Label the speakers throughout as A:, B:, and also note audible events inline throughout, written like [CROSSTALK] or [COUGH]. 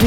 A: Du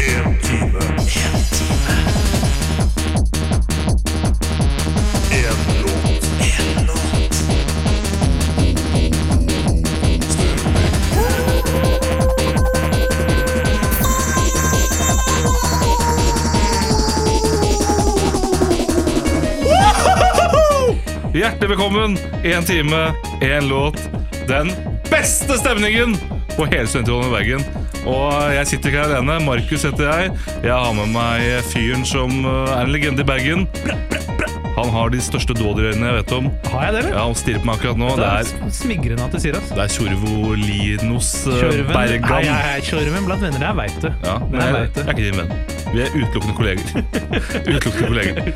B: En time. En låt.
C: Hjertelig velkommen. Én time, én låt. Den beste stemningen på hele Sentralen i Bergen. Og jeg sitter ikke her alene. Markus heter jeg. Jeg har med meg fyren som eh, er en legende i Bergen. Han har de største dådyrøynene jeg vet om.
D: Har jeg det, eller?
C: Ja, Han stirrer på meg akkurat nå.
D: det
C: Det
D: er
C: er,
D: s- smigrende at du sier det. ass.
C: det er Tjorvolinos eh,
D: Kjørven, Nei,
C: Bergan.
D: jeg er kjørven blant venner, jeg veit det.
C: Ja, men
D: jeg
C: jeg,
D: vet
C: jeg er
D: det.
C: ikke din venn. Vi er utelukkende
D: [LAUGHS]
C: kolleger. utelukkende kolleger.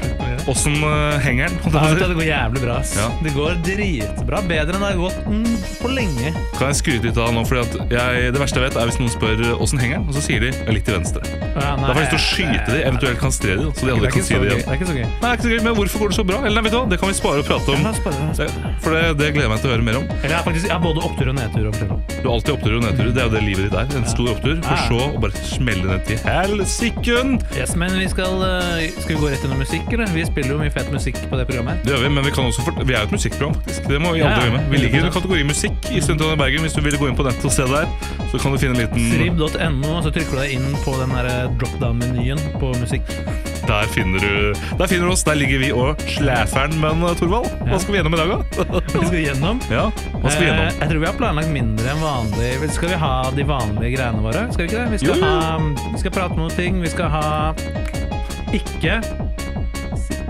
C: Åssen eh, henger den?
D: Ja, vet du, det går jævlig bra. ass.
C: Ja.
D: Det går dritbra. Bedre enn det har gått mm, på lenge.
C: Kan jeg skryte litt av nå, fordi at jeg, Det verste jeg vet, er hvis noen spør åssen henger den, og så sier de «Jeg er litt til venstre.
D: Ja, nei,
C: Da får jeg lyst til å
D: nei,
C: skyte de, eventuelt kastrere de, så de
D: Det er
C: aldri
D: ikke
C: kan si
D: så
C: det
D: gøy.
C: igjen.
D: Det er ikke så gøy.
C: Nei, det er ikke så gøy, men hvorfor går det så bra? Eller nei, vet du hva, Det kan vi spare og prate om.
D: La oss bare-
C: Det- For det, det gleder jeg meg til å høre mer om.
D: Eller jeg, er faktisk, jeg har både opptur og nedtur. å oppleve.
C: Du har alltid oppturer og nedturer. Det er jo det livet ditt er. En stor opptur, for
D: Ja.
C: så å bare smelle ned til helsiken.
D: Yes, men vi skal, eh, skal vi gå rett gjennom musikk, eller? Vi spiller jo mye fet musikk på det programmet. her.
C: Det gjør vi, men vi, kan også fort- vi er jo et musikkprogram, faktisk. Det må vi
D: Ja,
C: aldri
D: ja.
C: glemme. Vi ligger under kategorien musikk i Studentene i Bergen. Hvis du vil gå inn på nettet og se der, så kan du finne en liten
D: Srib.no, og så trykker du deg inn på den der eh, drop-down-menyen på musikk.
C: Der finner du Der finner du oss. Der ligger vi og slæferen. Men eh, Torvald, hva
D: Ja.
C: skal vi gjennom i
D: [LAUGHS]
C: dag, da?
D: Vi skal gjennom.
C: Ja, hva skal vi
D: Eh,
C: gjennom?
D: Jeg tror vi har planlagt mindre enn vanlig. Vel, Skal vi ha de vanlige greiene våre? Skal vi ikke det? Vi
C: Jo,
D: skal,
C: jo.
D: Ha, vi skal prate om noen ting. Vi skal ha ikke.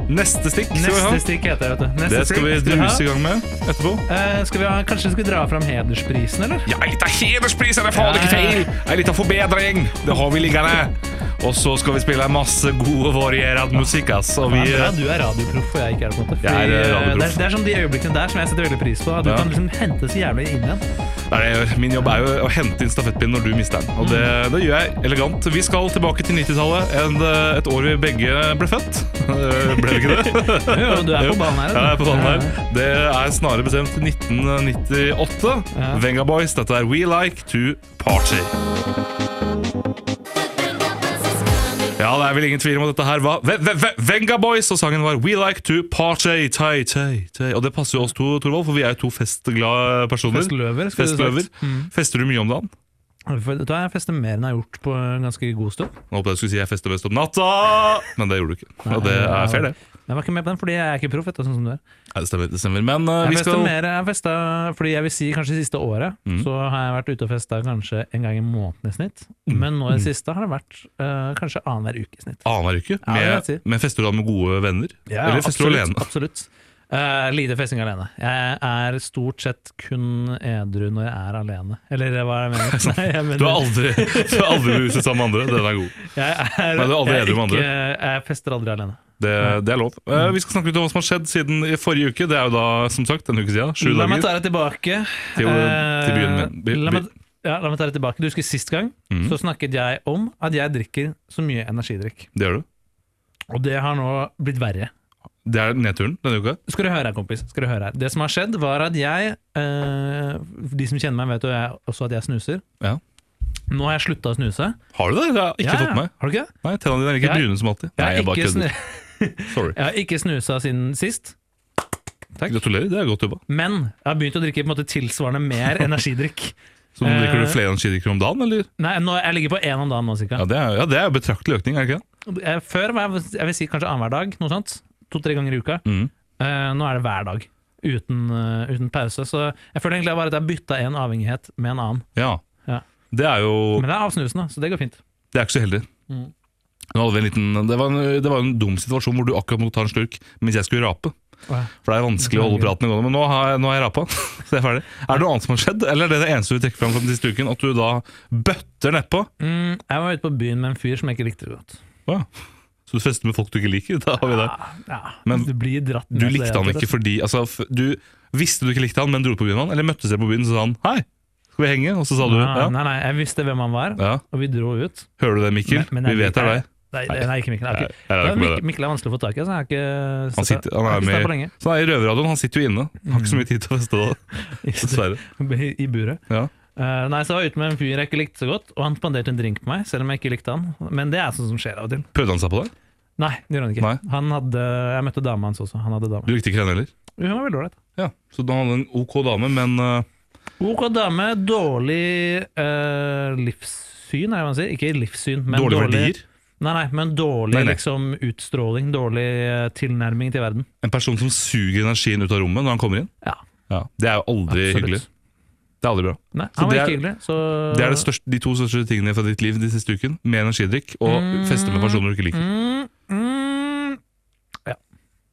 C: Neste stikk skal vi ha.
D: Neste stikk heter det, vet du. Neste
C: Det skal
D: stikk
C: vi
D: ha.
C: druse i gang med etterpå.
D: Eh, skal vi ha, kanskje skal vi dra fram hedersprisen, eller?
C: Ja, ei lita hederspris er det faen ikke feil! Ei lita forbedring! Det har vi liggende. Og så skal vi spille masse god og variert musikk, ass. Og vi eh,
D: Det er bra du er radioproff og jeg ikke er det. på en måte
C: Jeg er,
D: Fordi,
C: eh,
D: eh,
C: radioproff.
D: det, er, det er sånn de øyeblikkene der som jeg setter veldig pris på. At du
C: Ja.
D: kan liksom hente så jævlig inn igjen.
C: Det er det jeg gjør. Min jobb er jo å hente inn stafettpinnen når du mister den. Og det,
D: Mm.
C: det gjør jeg elegant. Vi skal tilbake til 90-tallet. en- eh, Et år vi begge ble født. [LAUGHS] Ble vi ikke det?
D: [LAUGHS] Jo, du er på ballen her.
C: Ja, jeg er på
D: du.
C: banen
D: Ja.
C: her. Det er snarere bestemt 1998.
D: Ja.
C: Venga Boys, dette er We Like To Party. Ja, det er vel ingen tvil om at dette her var Ve- Ve- Ve- Venga Boys, og sangen var We Like To Party. Tai, tai, tai. Og det passer jo oss to, Torvald, for vi er jo to festglade personer.
D: Festløver, skulle du
C: Festløver.
D: sagt. Mm.
C: Fester du mye om dagen?
D: For- Vet du hva, jeg fester mer enn jeg har gjort på en ganske god stund.
C: Nå håpet jeg du skulle si jeg fester best om natta, men det gjorde du ikke. Og det er fair, det.
D: Jeg var ikke med på den, fordi jeg er ikke proff, vet du, sånn som du er.
C: Nei, det stemmer. Det stemmer. Men eh,
D: Jeg
C: vi
D: festa
C: skal Mm.
D: mer, jeg festa, fordi jeg vil si kanskje det siste året, så har jeg vært ute og festa kanskje en gang i måneden i snitt.
C: Mm.
D: Men nå i det siste har det vært eh, kanskje annenhver uke i snitt.
C: annenhver uke.
D: Ja, det vil jeg
C: Med,
D: si.
C: med fester du da med gode venner? Eller fester du
D: absolutt,
C: alene?
D: Absolutt. Eh, lite festing alene. Jeg er stort sett kun edru når jeg er alene. Eller hva er det
C: [LAUGHS]
D: jeg mener? Nei, jeg mener
C: Du har aldri, [LAUGHS] du har aldri beruset sammen med andre. Den er god.
D: jeg er,
C: Nei, du er aldri
D: jeg er
C: edru med andre.
D: ikke- Jeg fester aldri alene.
C: Det, det er lov. Eh, vi skal snakke litt om hva som har skjedd siden i forrige uke. Det er jo da, som sagt, en uke siden. Sju
D: La meg
C: dager.
D: ta deg tilbake.
C: Til-
D: Eh,
C: til byen min. By-
D: la, meg,
C: by-
D: ja, la meg ta deg tilbake. Du husker sist gang
C: Mhm.
D: så snakket jeg om at jeg drikker så mye energidrikk.
C: Det gjør du.
D: Og det har nå blitt verre.
C: Det er nedturen denne uka.
D: Skal du høre her, kompis. Skal du høre her. Det som har skjedd, var at jeg eh, De som kjenner meg, vet jo jeg, også at jeg snuser.
C: Ja.
D: Nå har jeg slutta å snuse.
C: Har du det? Det har jeg ikke
D: Ja,
C: fått med meg.
D: Har du ikke det?
C: Nei, Tennene dine er ikke
D: Jeg-
C: brune som alltid.
D: Jeg
C: Nei,
D: har,
C: jeg bare
D: ikke,
C: kødder.
D: snu, [LAUGHS]
C: Sorry.
D: jeg har ikke snusa siden sist. Takk.
C: Gratulerer, det er godt jobba.
D: Men jeg har begynt å drikke på en måte tilsvarende
C: [LAUGHS]
D: mer energidrikk.
C: Så nå drikker
D: Eh.
C: du flere energidrikker om dagen, eller?
D: Nei, nå, jeg ligger på én om dagen nå, cirka.
C: Ja, det er, ja, det er jo betraktelig økning, er det ikke det?
D: Eh, Før var jeg, jeg vil si kanskje annenhver dag, noe sånt. To-tre ganger i uka.
C: Mm.
D: Eh, nå er det hver dag, uten, eh, uten pause. Så jeg føler egentlig bare at jeg har bytta en avhengighet med en annen.
C: Ja.
D: Ja.
C: Det er jo
D: Men det er av snusen, da, så det går fint.
C: Det er ikke så heldig.
D: Mm.
C: Nå hadde vi en liten, det, var en, det var en dum situasjon hvor du akkurat måtte ta en slurk mens jeg skulle rape.
D: Åh, ja.
C: For det er vanskelig å holde praten gående. Men nå har, jeg- nå har jeg rapa. [LAUGHS] Så jeg er ferdig. Er det noe annet som har skjedd, eller er det det eneste du trekker fram fra den siste uken? At du da bøtter nedpå?
D: Mm, jeg var ute på byen med en fyr som jeg ikke likte så godt.
C: Å ja. Så du fester med folk du ikke liker? [LAUGHS] Da har vi det.
D: Ja,
C: Men
D: du blir dratt
C: Du
D: ned til
C: likte
D: det,
C: han
D: rett og
C: ikke fordi altså, f- Du visste du ikke likte han, men dro på byen med han? Eller møttes dere på byen og sa han 'hei, Skal vi henge? Og så sa du
D: Nei,
C: ja.
D: nei, nei, jeg visste hvem han var,
C: ja.
D: og vi dro ut.
C: Hører du det, Mikkel?
D: Men- men jeg-
C: vi vet det er deg.
D: Nei, det- nei, ikke Mikkel. Jeg har ikke-
C: Nei, det er ikke
D: Mikkel,
C: bare det.
D: Mikkel er vanskelig å få tak i, så jeg har ikke
C: Han,
D: sett
C: sitter, han er
D: jeg har ikke sett
C: med
D: på lenge.
C: så han er i Røverradioen. Han sitter jo inne. Han Har ikke
D: Mm.
C: så mye tid til å
D: [LAUGHS]
C: feste da, dessverre.
D: I, I buret.
C: Ja.
D: Eh, nei, så jeg var ute med en fyr jeg ikke likte så godt, og han spanderte en drink på meg, selv om jeg ikke likte han. Men det er sånn som skjer av og til.
C: Prøvde han seg på deg?
D: Nei, det gjorde han ikke.
C: Nei.
D: Han hadde, jeg møtte dama hans også. Han hadde dame.
C: Du likte ikke henne heller?
D: Hun var veldig ålreit.
C: Ja. Så da hadde han en ok dame, men eh,
D: Ok dame, dårlig eh, livssyn, er det hva man sier. Ikke livssyn, men
C: dårlige verdier?
D: Nei, nei, men dårlig
C: Nei, nei.
D: Liksom, utstråling, dårlig eh, tilnærming til verden.
C: En person som suger energien ut av rommet når han kommer inn?
D: Ja,
C: Ja, Det er jo aldri
D: absolutt.
C: hyggelig. Det er aldri bra.
D: Nei,
C: Så
D: han var
C: det
D: ikke
C: er-
D: hyggelig, så
C: Det
D: Eh.
C: er det største, de to største tingene fra ditt liv de siste uken. Med energidrikk og feste med personer du ikke liker.
D: Mm, mm.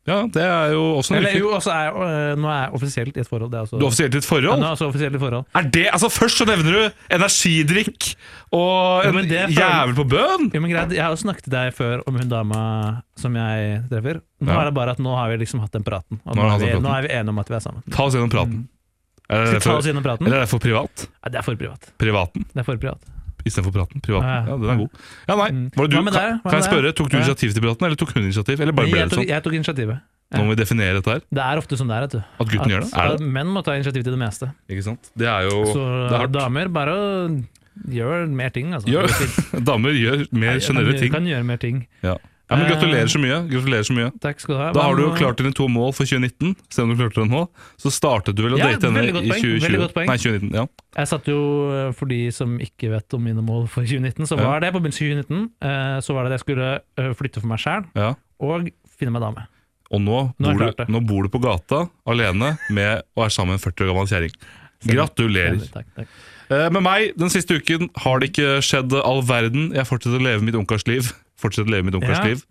C: Ja, det er jo også noe
D: Eller
C: lykke.
D: jo, også er, øh, nå er jeg offisielt i et forhold. Det er også,
C: Du er offisielt i et
D: Ja, nå
C: forhold?
D: er jeg også offisielt i et forhold.
C: Er det, altså Først så nevner du energidrikk og
D: Ja,
C: en
D: men det er føl-
C: jævel på bøn!
D: Jo, men greit, Jeg har jo snakket til deg før om hun dama som jeg treffer. Nå
C: Ja.
D: er det bare at nå har vi liksom hatt den praten.
C: Nå
D: Og nå,
C: har
D: er
C: vi
D: vi,
C: hatt den
D: nå er vi enige om at vi er sammen.
C: Ta oss gjennom praten. Er
D: Mm. Skal
C: det
D: vi ta oss
C: derfor,
D: gjennom praten?
C: eller er det for privat?
D: Nei, det er for privat.
C: Privaten
D: Det er for privat.
C: istedenfor praten. Privaten. Ja,
D: Ja, ja.
C: den er god. Ja, nei.
D: Mm.
C: Var det du,
D: Hva med
C: kan,
D: deg? Hva
C: kan jeg
D: med
C: spørre,
D: deg?
C: Tok du
D: Ja.
C: initiativ til praten, eller tok hun initiativ? Eller bare
D: Men
C: ble
D: jeg,
C: det
D: tok,
C: sånn?
D: jeg tok initiativet. ja.
C: Nå må vi definere dette her.
D: Det er ofte sånn det er. vet du.
C: At gutten gjør det? Er
D: at Menn må ta initiativ til det meste.
C: Ikke sant? Det er jo
D: Så
C: det er hardt.
D: damer, bare gjør mer ting. Altså.
C: Gjør-
D: Det er
C: [LAUGHS]
D: fint.
C: Damer gjør [LAUGHS] mer generelle ting.
D: Kan gjøre mer ting.
C: Ja. ja, men
D: Eh,
C: Gratulerer så mye. gratulerer så mye
D: Takk skal du ha.
C: Da har du jo
D: Hva-
C: klart dine to mål for 2019. Se om du klarte det nå. Så startet du vel å
D: Ja,
C: date
D: veldig
C: henne
D: godt
C: i
D: poeng,
C: 2020.
D: veldig godt poeng.
C: Nei, 2019, ja
D: Jeg satt jo, eh, for de som ikke vet om mine mål for [LAUGHS] 2019, så
C: Ja.
D: var det på begynnelsen av 2019 eh, så var det at jeg skulle eh, flytte for meg sjæl
C: ja.
D: og finne meg dame.
C: Og nå,
D: Nå har jeg
C: bor
D: klart
C: du,
D: det.
C: nå bor du på gata alene med og er sammen med en 40 år gammel kjerring. Gratulerer.
D: Stemmer, Takk, takk.
C: Eh, med meg den siste uken har det ikke skjedd all verden. Jeg fortsetter å leve mitt ungkarsliv. [LAUGHS] Fortsetter å leve mitt ungkarsliv.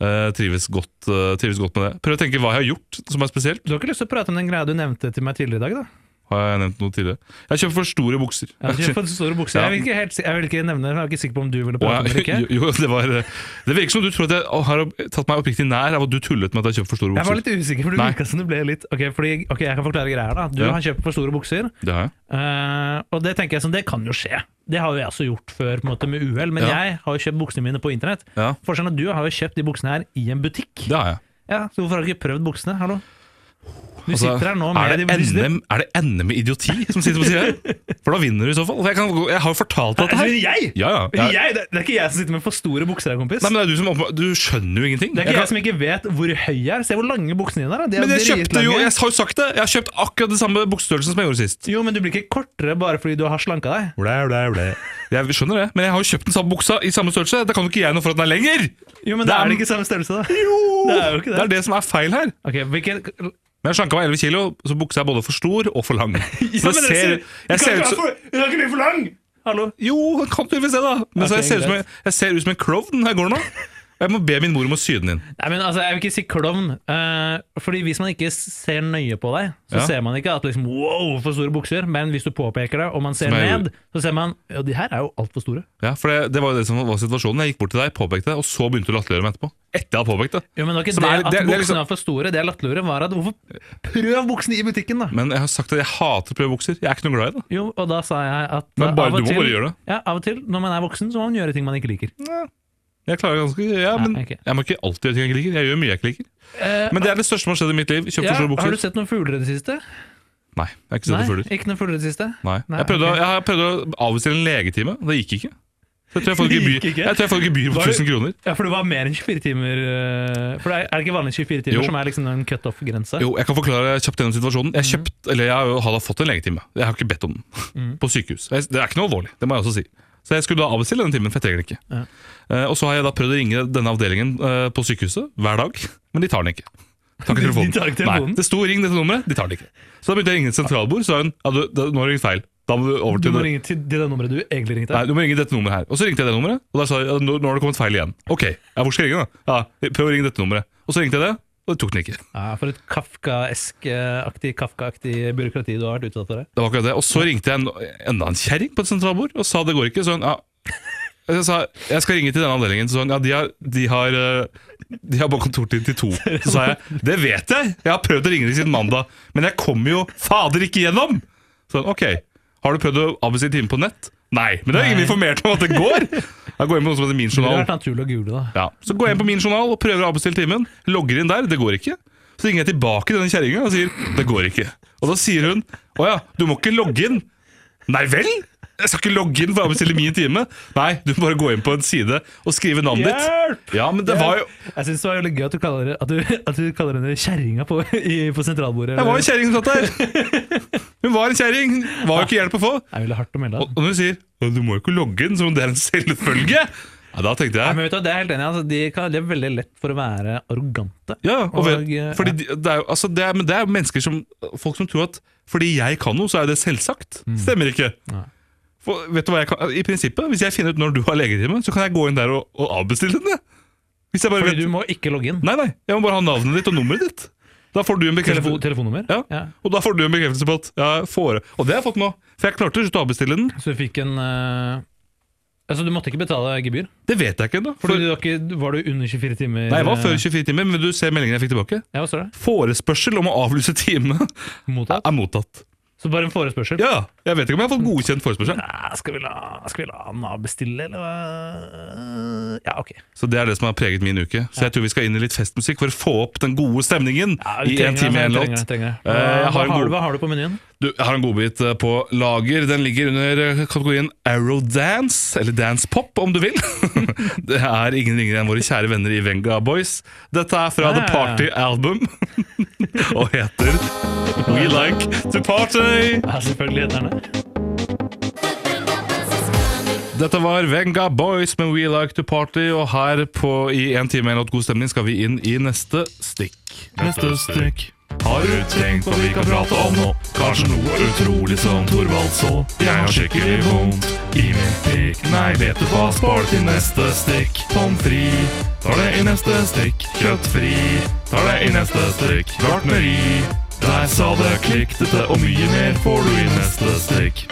C: Eh, trives, godt, eh, trives godt med det. Prøv å tenke hva jeg har gjort som er spesielt.
D: Du har ikke lyst til å prate om den greia du nevnte til meg tidligere i dag? da?
C: Har jeg nevnt noe tidligere? Jeg kjøper for store bukser.
D: Jeg
C: [LAUGHS]
D: har ikke fått så store bukser.
C: Ja.
D: Jeg vil ikke, helt, si- jeg vil ikke nevne det, for jeg er ikke sikker på om du ville
C: Og
D: prate om det
C: jeg,
D: eller
C: [LAUGHS]
D: ikke.
C: jo, jo, det, var, eh, det virker som du tror at jeg har tatt meg oppriktig nær av at du tullet med at jeg kjøpte for store
D: Jeg
C: bukser.
D: var litt usikker, for du
C: Nei.
D: virka som du ble litt Ok, fordi, ok, jeg kan forklare greier da. Du
C: Ja.
D: har kjøpt for store bukser,
C: Det har jeg.
D: eh, og det tenker jeg sånn, det kan jo skje. Det har jo jeg også gjort før på en måte med uhell, men
C: Ja.
D: jeg har jo kjøpt buksene mine på internett.
C: Ja,
D: Forskjellen er at du har jo kjøpt de buksene her i en butikk.
C: det har jeg.
D: Ja, så hvorfor har du ikke prøvd buksene? Hallo? Du
C: Altså,
D: sitter her nå med
C: er, det
D: de-
C: NM, er det NM i idioti som sitter på siden her?
D: [LAUGHS]
C: For da vinner du i så fall. Jeg, kan, jeg har jo fortalt deg
D: Altså,
C: dette her.
D: jeg?
C: Ja, ja. Jeg,
D: jeg? Det det er ikke jeg som sitter med for store bukser her, kompis.
C: nei, men det er du som åpenbart- Du skjønner jo ingenting.
D: det er ikke
C: Jeg
D: jeg,
C: kan-
D: som ikke vet hvor høy jeg er. Se hvor lange buksene dine er. da. De er
C: men jeg kjøpte jo
D: dritlange.
C: Jeg har jo sagt det! Jeg har kjøpt akkurat den samme buksestørrelsen som jeg gjorde sist.
D: Jo, men du blir ikke kortere bare fordi du har slanka deg.
C: Jeg skjønner det, men jeg har jo kjøpt den samme buksa i samme størrelse. Da kan jo ikke jeg noe for at den er lenger!
D: Jo,
C: Det
D: men da
C: er-
D: er det ikke samme størrelse, da. Det er jo ikke det.
C: Det er det som er feil her.
D: Ok, hvilken...
C: Men jeg slanka meg 11 kilo, så buksa er både for stor og for
D: [LAUGHS]
C: lang. Så det ser, jeg ser ut som
D: Du kan ikke bli for lang! Hallo?
C: Jo, det kan du se, da! Men så
D: Ok,
C: jeg ser, ut som, en- jeg ser ut som en klovn når jeg går nå. Og jeg må be min mor om å sy den inn.
D: Nei, men altså, Jeg vil ikke si klovn. eh, fordi Hvis man ikke ser nøye på deg, så
C: Ja.
D: ser man ikke at liksom, wow, for store bukser. Men hvis du påpeker det, og man ser
C: Som jeg
D: ned, så ser man ja, de her er jo altfor store.
C: Ja, for det, det var jo det som var situasjonen. Jeg gikk bort til deg, påpekte det, og så begynte du å latterliggjøre meg etterpå. Etter jeg hadde påpekt det.
D: Jo, men det var ikke
C: Som
D: det,
C: er-
D: at
C: det- det er
D: buksene
C: liksom-
D: var for store, det jeg latterliggjorde, var at hvorfor Prøv buksene i butikken, da!
C: Men jeg har sagt at jeg hater prøvebukser. Jeg er ikke noe glad i det.
D: Jo, og da sa jeg at
C: Men bare,
D: av og
C: du må
D: til-
C: bare gjøre det.
D: Ja, Av og til, når man er voksen, så må man gjøre ting man ikke liker.
C: Jeg klarer ganske Ja, men
D: ok.
C: jeg må ikke alltid gjøre ting jeg ikke liker. Jeg gjør mye jeg ikke liker.
D: Eh,
C: Men det er det største som har skjedd i mitt liv. Kjøpt
D: ja,
C: for store
D: har du
C: bukser.
D: sett noen fugler i det siste?
C: Nei, jeg har ikke sett
D: Nei,
C: noen fugler.
D: ikke noen fugler i det siste.
C: Nei.
D: Nei,
C: jeg, prøvde, å-
D: ok.
C: jeg har prøvd å avbestille en legetime. Det gikk ikke. Så jeg tror jeg får
D: Det
C: gebyr,
D: gikk ikke?
C: jeg tror jeg får gebyr
D: Var
C: på
D: det-
C: 1000 kroner.
D: Ja, For det var mer enn 24 timer eh, For det er, er det ikke vanlig 24 timer
C: Jo.
D: som er liksom en cutoff-grense?
C: [LAUGHS] Jo, jeg kan forklare kjapt gjennom situasjonen. Jeg kjøpt,
D: Mhm.
C: eller jeg har jo har da fått en legetime. Jeg har ikke bedt om den. På sykehus. Jeg- Det er ikke noe alvorlig, det må jeg også si. Så jeg skulle da avbestille denne timen, for jeg trenger den ikke.
D: Ja.
C: Eh, og så har jeg da prøvd å ringe denne avdelingen eh, på sykehuset hver dag, men de tar den ikke. De Tar ikke
D: [LAUGHS] De- de
C: telefonen.
D: tar ikke telefonen.
C: Nei, det sto 'ring dette nummeret', de tar den ikke. Så da begynte jeg å ringe et sentralbord, så sa hun ja, du, det- 'nå har du ringt feil'. Da må du over
D: Du
C: til
D: må
C: det-
D: ringe til det nummeret du egentlig ringte.
C: Nei, du må ringe dette nummeret her. Og så ringte jeg det nummeret, og da sa jeg ja, nå, nå har det kommet feil igjen. Ok, ja, hvor skal jeg ringe da? Ja, prøv å ringe dette nummeret. Og så ringte jeg det, og det tok den ikke.
D: Ja, for et Kafka-aktig Kafka byråkrati du har vært utsatt for. det.
C: Det var akkurat det. Og så ringte jeg en, enda en kjerring på et sentralbord og sa det går ikke. Så hun, ja. Jeg sa jeg skal ringe til denne avdelingen. Så sa hun, ja, de har, de har, eh, de har bare kontortid til to. Så sa jeg det vet jeg! Jeg har prøvd å ringe dem siden mandag, men jeg kommer jo fader ikke gjennom! Så hun, ok. Har du prøvd å avbestille time på nett? Nei. Men det er ingen
D: Nei.
C: informert om at det går! Da går jeg inn på noe som heter Min
D: Det ville
C: journal.
D: vært naturlig å google, da.
C: Ja. Så går jeg inn på Min journal og prøver å avbestille timen. Logger inn der. Det går ikke. Så ringer jeg tilbake til denne kjerringa og sier det går ikke. Og da sier hun å ja, du må ikke logge inn. Nei vel? Jeg skal ikke logge inn for å avbestille min time. Nei, du må bare gå inn på en side og skrive navnet ditt.
D: Hjelp!
C: Ja, men det var jo
D: Jeg syns det var veldig gøy at du kaller, det- at du, at du kaller henne kjerringa på, i- på sentralbordet.
C: Jeg var en
D: eller-
C: kjerring som satt der. Hun var en kjerring. Var jo ikke hjelp å få.
D: Det er veldig hardt å melde. altså.
C: Og og når hun sier «Å, du må jo ikke logge inn som om det er en selvfølge, ja, da tenkte
D: Nei,
C: jeg
D: men vet du, hva, det er jeg helt enig. i, Altså, de kan- de er veldig lett for å være arrogante.
C: ja, og vet,
D: Og, eh,
C: fordi de- det er jo altså det er, men det er jo mennesker som folk som tror at fordi jeg kan noe, så er det selvsagt. Stemmer ikke.
D: Mm. Nei.
C: For, vet du hva jeg kan, I prinsippet, Hvis jeg finner ut når du har legetime, så kan jeg gå inn der og, og avbestille den. jeg. Hvis jeg bare
D: Fordi
C: vet,
D: du må ikke logge inn.
C: Nei, nei, jeg må bare ha navnet ditt og nummeret ditt. Da får du en
D: Telefo,
C: bekreftelse,
D: telefonnummer?
C: Ja. og da får du en bekreftelse på at ja, jeg får det. Og det har jeg fått nå. For jeg klarte ikke å avbestille den.
D: Så du fikk en eh, Altså, du måtte ikke betale gebyr?
C: Det vet jeg ikke ennå.
D: Fordi du var, ikke, var du under 24 timer?
C: Nei, jeg var før
D: eh,
C: 24 timer, men vil du se meldingen jeg fikk tilbake.
D: Ja, hva står det?
C: Forespørsel om å avlyse time
D: Mottatt?
C: er mottatt.
D: Så bare en forespørsel?
C: Ja, Jeg vet ikke om jeg har fått godkjent forespørsel.
D: Nei, skal vi la, skal vi la Nav bestille, eller hva? Ja, ok.
C: Så det er det som har preget min uke. Så jeg tror vi skal inn i litt festmusikk for å få opp den gode stemningen
D: Ja,
C: i
D: vi
C: en
D: trenger
C: time,
D: det,
C: en
D: vi
C: låt.
D: trenger det, vi trenger det.
C: Eh, jeg har
D: Hva
C: en
D: har
C: god-
D: du- Hva har du på menyen?
C: Du, jeg har en godbit eh, på lager. Den ligger under eh, kategorien Arrow Dance, eller Dance Pop om du vil. [LAUGHS] det er ingen ringere enn våre kjære venner i Venga Boys. Dette er fra The
D: Ah.
C: Party Album [LAUGHS] og heter We Like To Party.
D: Ja, selvfølgelig heter den det.
C: Dette var Venga Boys med We Like To Party, og her på i en time en låt god stemning skal vi inn i neste stikk. Neste stikk. Har du tenkt på vi kan prate om nå? Kanskje noe utrolig som Thorvald så? Jeg har skikkelig vondt i min pikk. Nei, vet du hva, spar til neste stikk. Pommes frites tar det i neste stikk. Kjøttfri tar det i neste stikk. Gartneri. Der sa det klikk, dette og mye mer får du i neste stikk.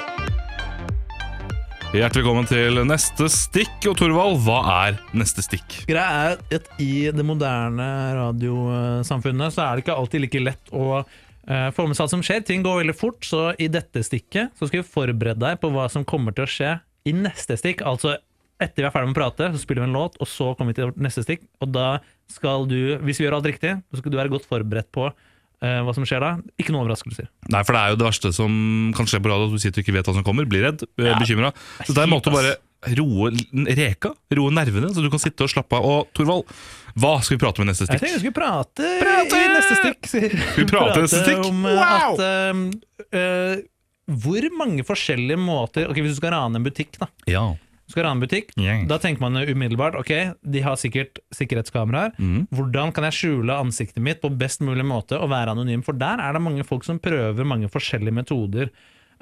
C: Hjertelig velkommen til neste stikk. Og Torvald, hva er neste stikk?
D: Greia er at i det moderne radiosamfunnet så er det ikke alltid like lett å eh, få med seg alt som skjer. Ting går veldig fort, så i dette stikket så skal vi forberede deg på hva som kommer til å skje i neste stikk. Altså etter vi er ferdig med å prate, så spiller vi en låt, og så kommer vi til vårt neste stikk. Og da skal du, hvis vi gjør alt riktig, så skal du være godt forberedt på eh, hva som skjer da. Ikke noen overraskelser.
C: Nei, for Det er jo det verste som kan skje på radio. At du sitter og ikke vet hva som kommer, blir redd, ja. bekymra. Så det er en måte å bare roe l- reka, roe nervene, så du kan sitte og slappe av. Og Torvald, hva skal vi prate om i neste
D: Jeg
C: stikk?
D: tenker vi skulle prate,
C: Prate!
D: i neste stikk. sier-
C: vi prate i neste stikk?
D: Om eh,
C: Wow!
D: at eh, eh, Hvor mange forskjellige måter Ok, Hvis du skal rane en butikk, da.
C: Ja.
D: Du skal rane en butikk
C: Yeah.
D: Da tenker man jo umiddelbart ok, de har sikkert sikkerhetskameraer.
C: Mm.
D: Hvordan kan jeg skjule ansiktet mitt på best mulig måte og være anonym? For der er det mange folk som prøver mange forskjellige metoder.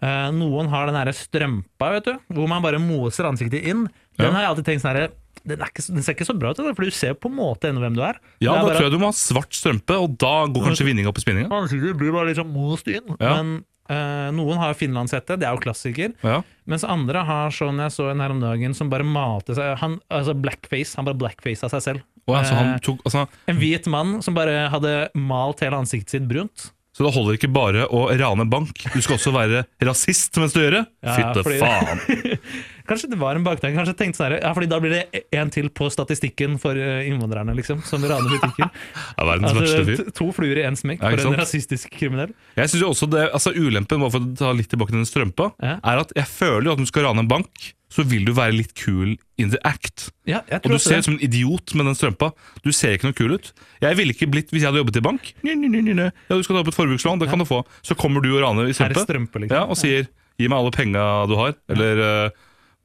D: Eh, noen har den her strømpa, vet du, hvor man bare moser ansiktet inn. Den
C: Ja.
D: har jeg alltid tenkt sånn herre den, er ikke så- den ser ikke så bra ut, altså, for du ser på en måte ennå hvem du er.
C: ja,
D: Det er
C: da
D: bare-
C: tror jeg du må ha svart strømpe, og da går kanskje vinninga på spinninga.
D: Ansiktet blir bare liksom most inn.
C: Ja.
D: Men eh, noen har jo finlandshette, det er jo klassiker.
C: Ja.
D: Mens andre har sånn jeg så en her om dagen, som bare malte seg han, Altså blackface. Han bare blackfaca seg selv.
C: Og altså, han
D: Eh,
C: tok, altså,
D: en hvit mann som bare hadde malt hele ansiktet sitt brunt.
C: så det holder ikke bare å rane bank, du skal også være rasist mens du gjør det?
D: Ja,
C: Fytte
D: fordi-
C: faen!
D: Kanskje det var en baktanke. Kanskje jeg tenkte sånn her, ja, fordi Da blir det en til på statistikken for eh, innvandrerne, liksom. Som raner
C: [LAUGHS]
D: butikker.
C: Det er verdens
D: altså,
C: verste fyr.
D: t- to fluer i én smekk
C: Ja, ikke
D: for
C: sant?
D: en rasistisk kriminell.
C: Jeg synes jo også det, altså Ulempen bare for å ta litt tilbake til den strømpa,
D: Ja.
C: er at jeg føler jo at når du skal rane en bank, så vil du være litt kul in the act.
D: Ja, jeg
C: Og
D: tror
C: du
D: også
C: ser ut
D: det.
C: som en idiot med den strømpa. Du ser ikke noe kul ut. Jeg ville ikke blitt hvis jeg hadde jobbet i bank. Nye, nye, nye, nye. Ja, du skal ta opp et forbrukslån, det kan du få. Så kommer du og raner i
D: Her er
C: strømpe
D: strømpe, liksom.
C: ja, og sier 'gi meg alle penga du har', eller eh,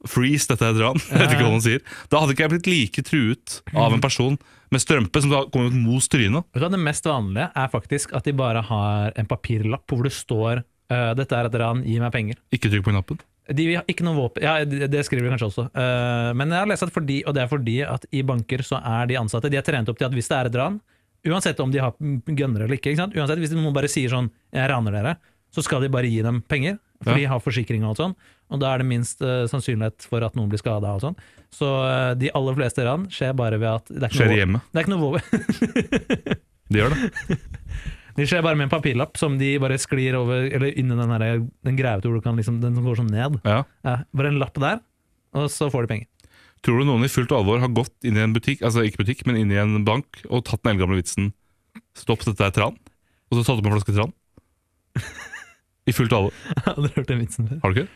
C: 'freeze, dette er et ran'. [LAUGHS] Jeg vet ikke hva han sier. Da hadde ikke jeg blitt like truet av en person med strømpe som da kom ut mot trynet.
D: Vet du hva, Det mest vanlige er faktisk at de bare har en papirlapp hvor det står eh, 'Dette er et ran, gi meg penger'.
C: Ikke trykk på knappen.
D: De har ikke noe våpen Ja, det det skriver de kanskje også. Eh, men jeg har lest at fordi, og det er fordi at i banker så er de ansatte De er trent opp til at hvis det er et ran, uansett om de har gønnere eller ikke, ikke sant? Uansett hvis noen bare sier sånn 'Jeg raner dere', så skal de bare gi dem penger. For
C: Ja.
D: de har forsikring og alt sånn, og da er det minst eh, sannsynlighet for at noen blir skada. og sånn. Så eh, de aller fleste ran skjer bare ved at det er ikke
C: Skjer
D: noe,
C: hjemme.
D: Det er ikke noe våpen.
C: Det gjør det.
D: De skjer bare med en papirlapp som de bare sklir over Eller inni den, her- den greia hvor du kan liksom Den som går sånn ned.
C: Ja.
D: Ja, bare en lapp der, og så får de penger. [LAUGHS]
C: Tror du noen i fullt alvor har gått inn i en butikk, altså ikke butikk, men inn i en bank, og tatt den eldgamle vitsen 'stopp, dette er tran', og så tatt opp en flaske
D: [LAUGHS]
C: tran? I fullt alvor.
D: Jeg har aldri hørt den vitsen før. [LAUGHS]
C: Har du ikke?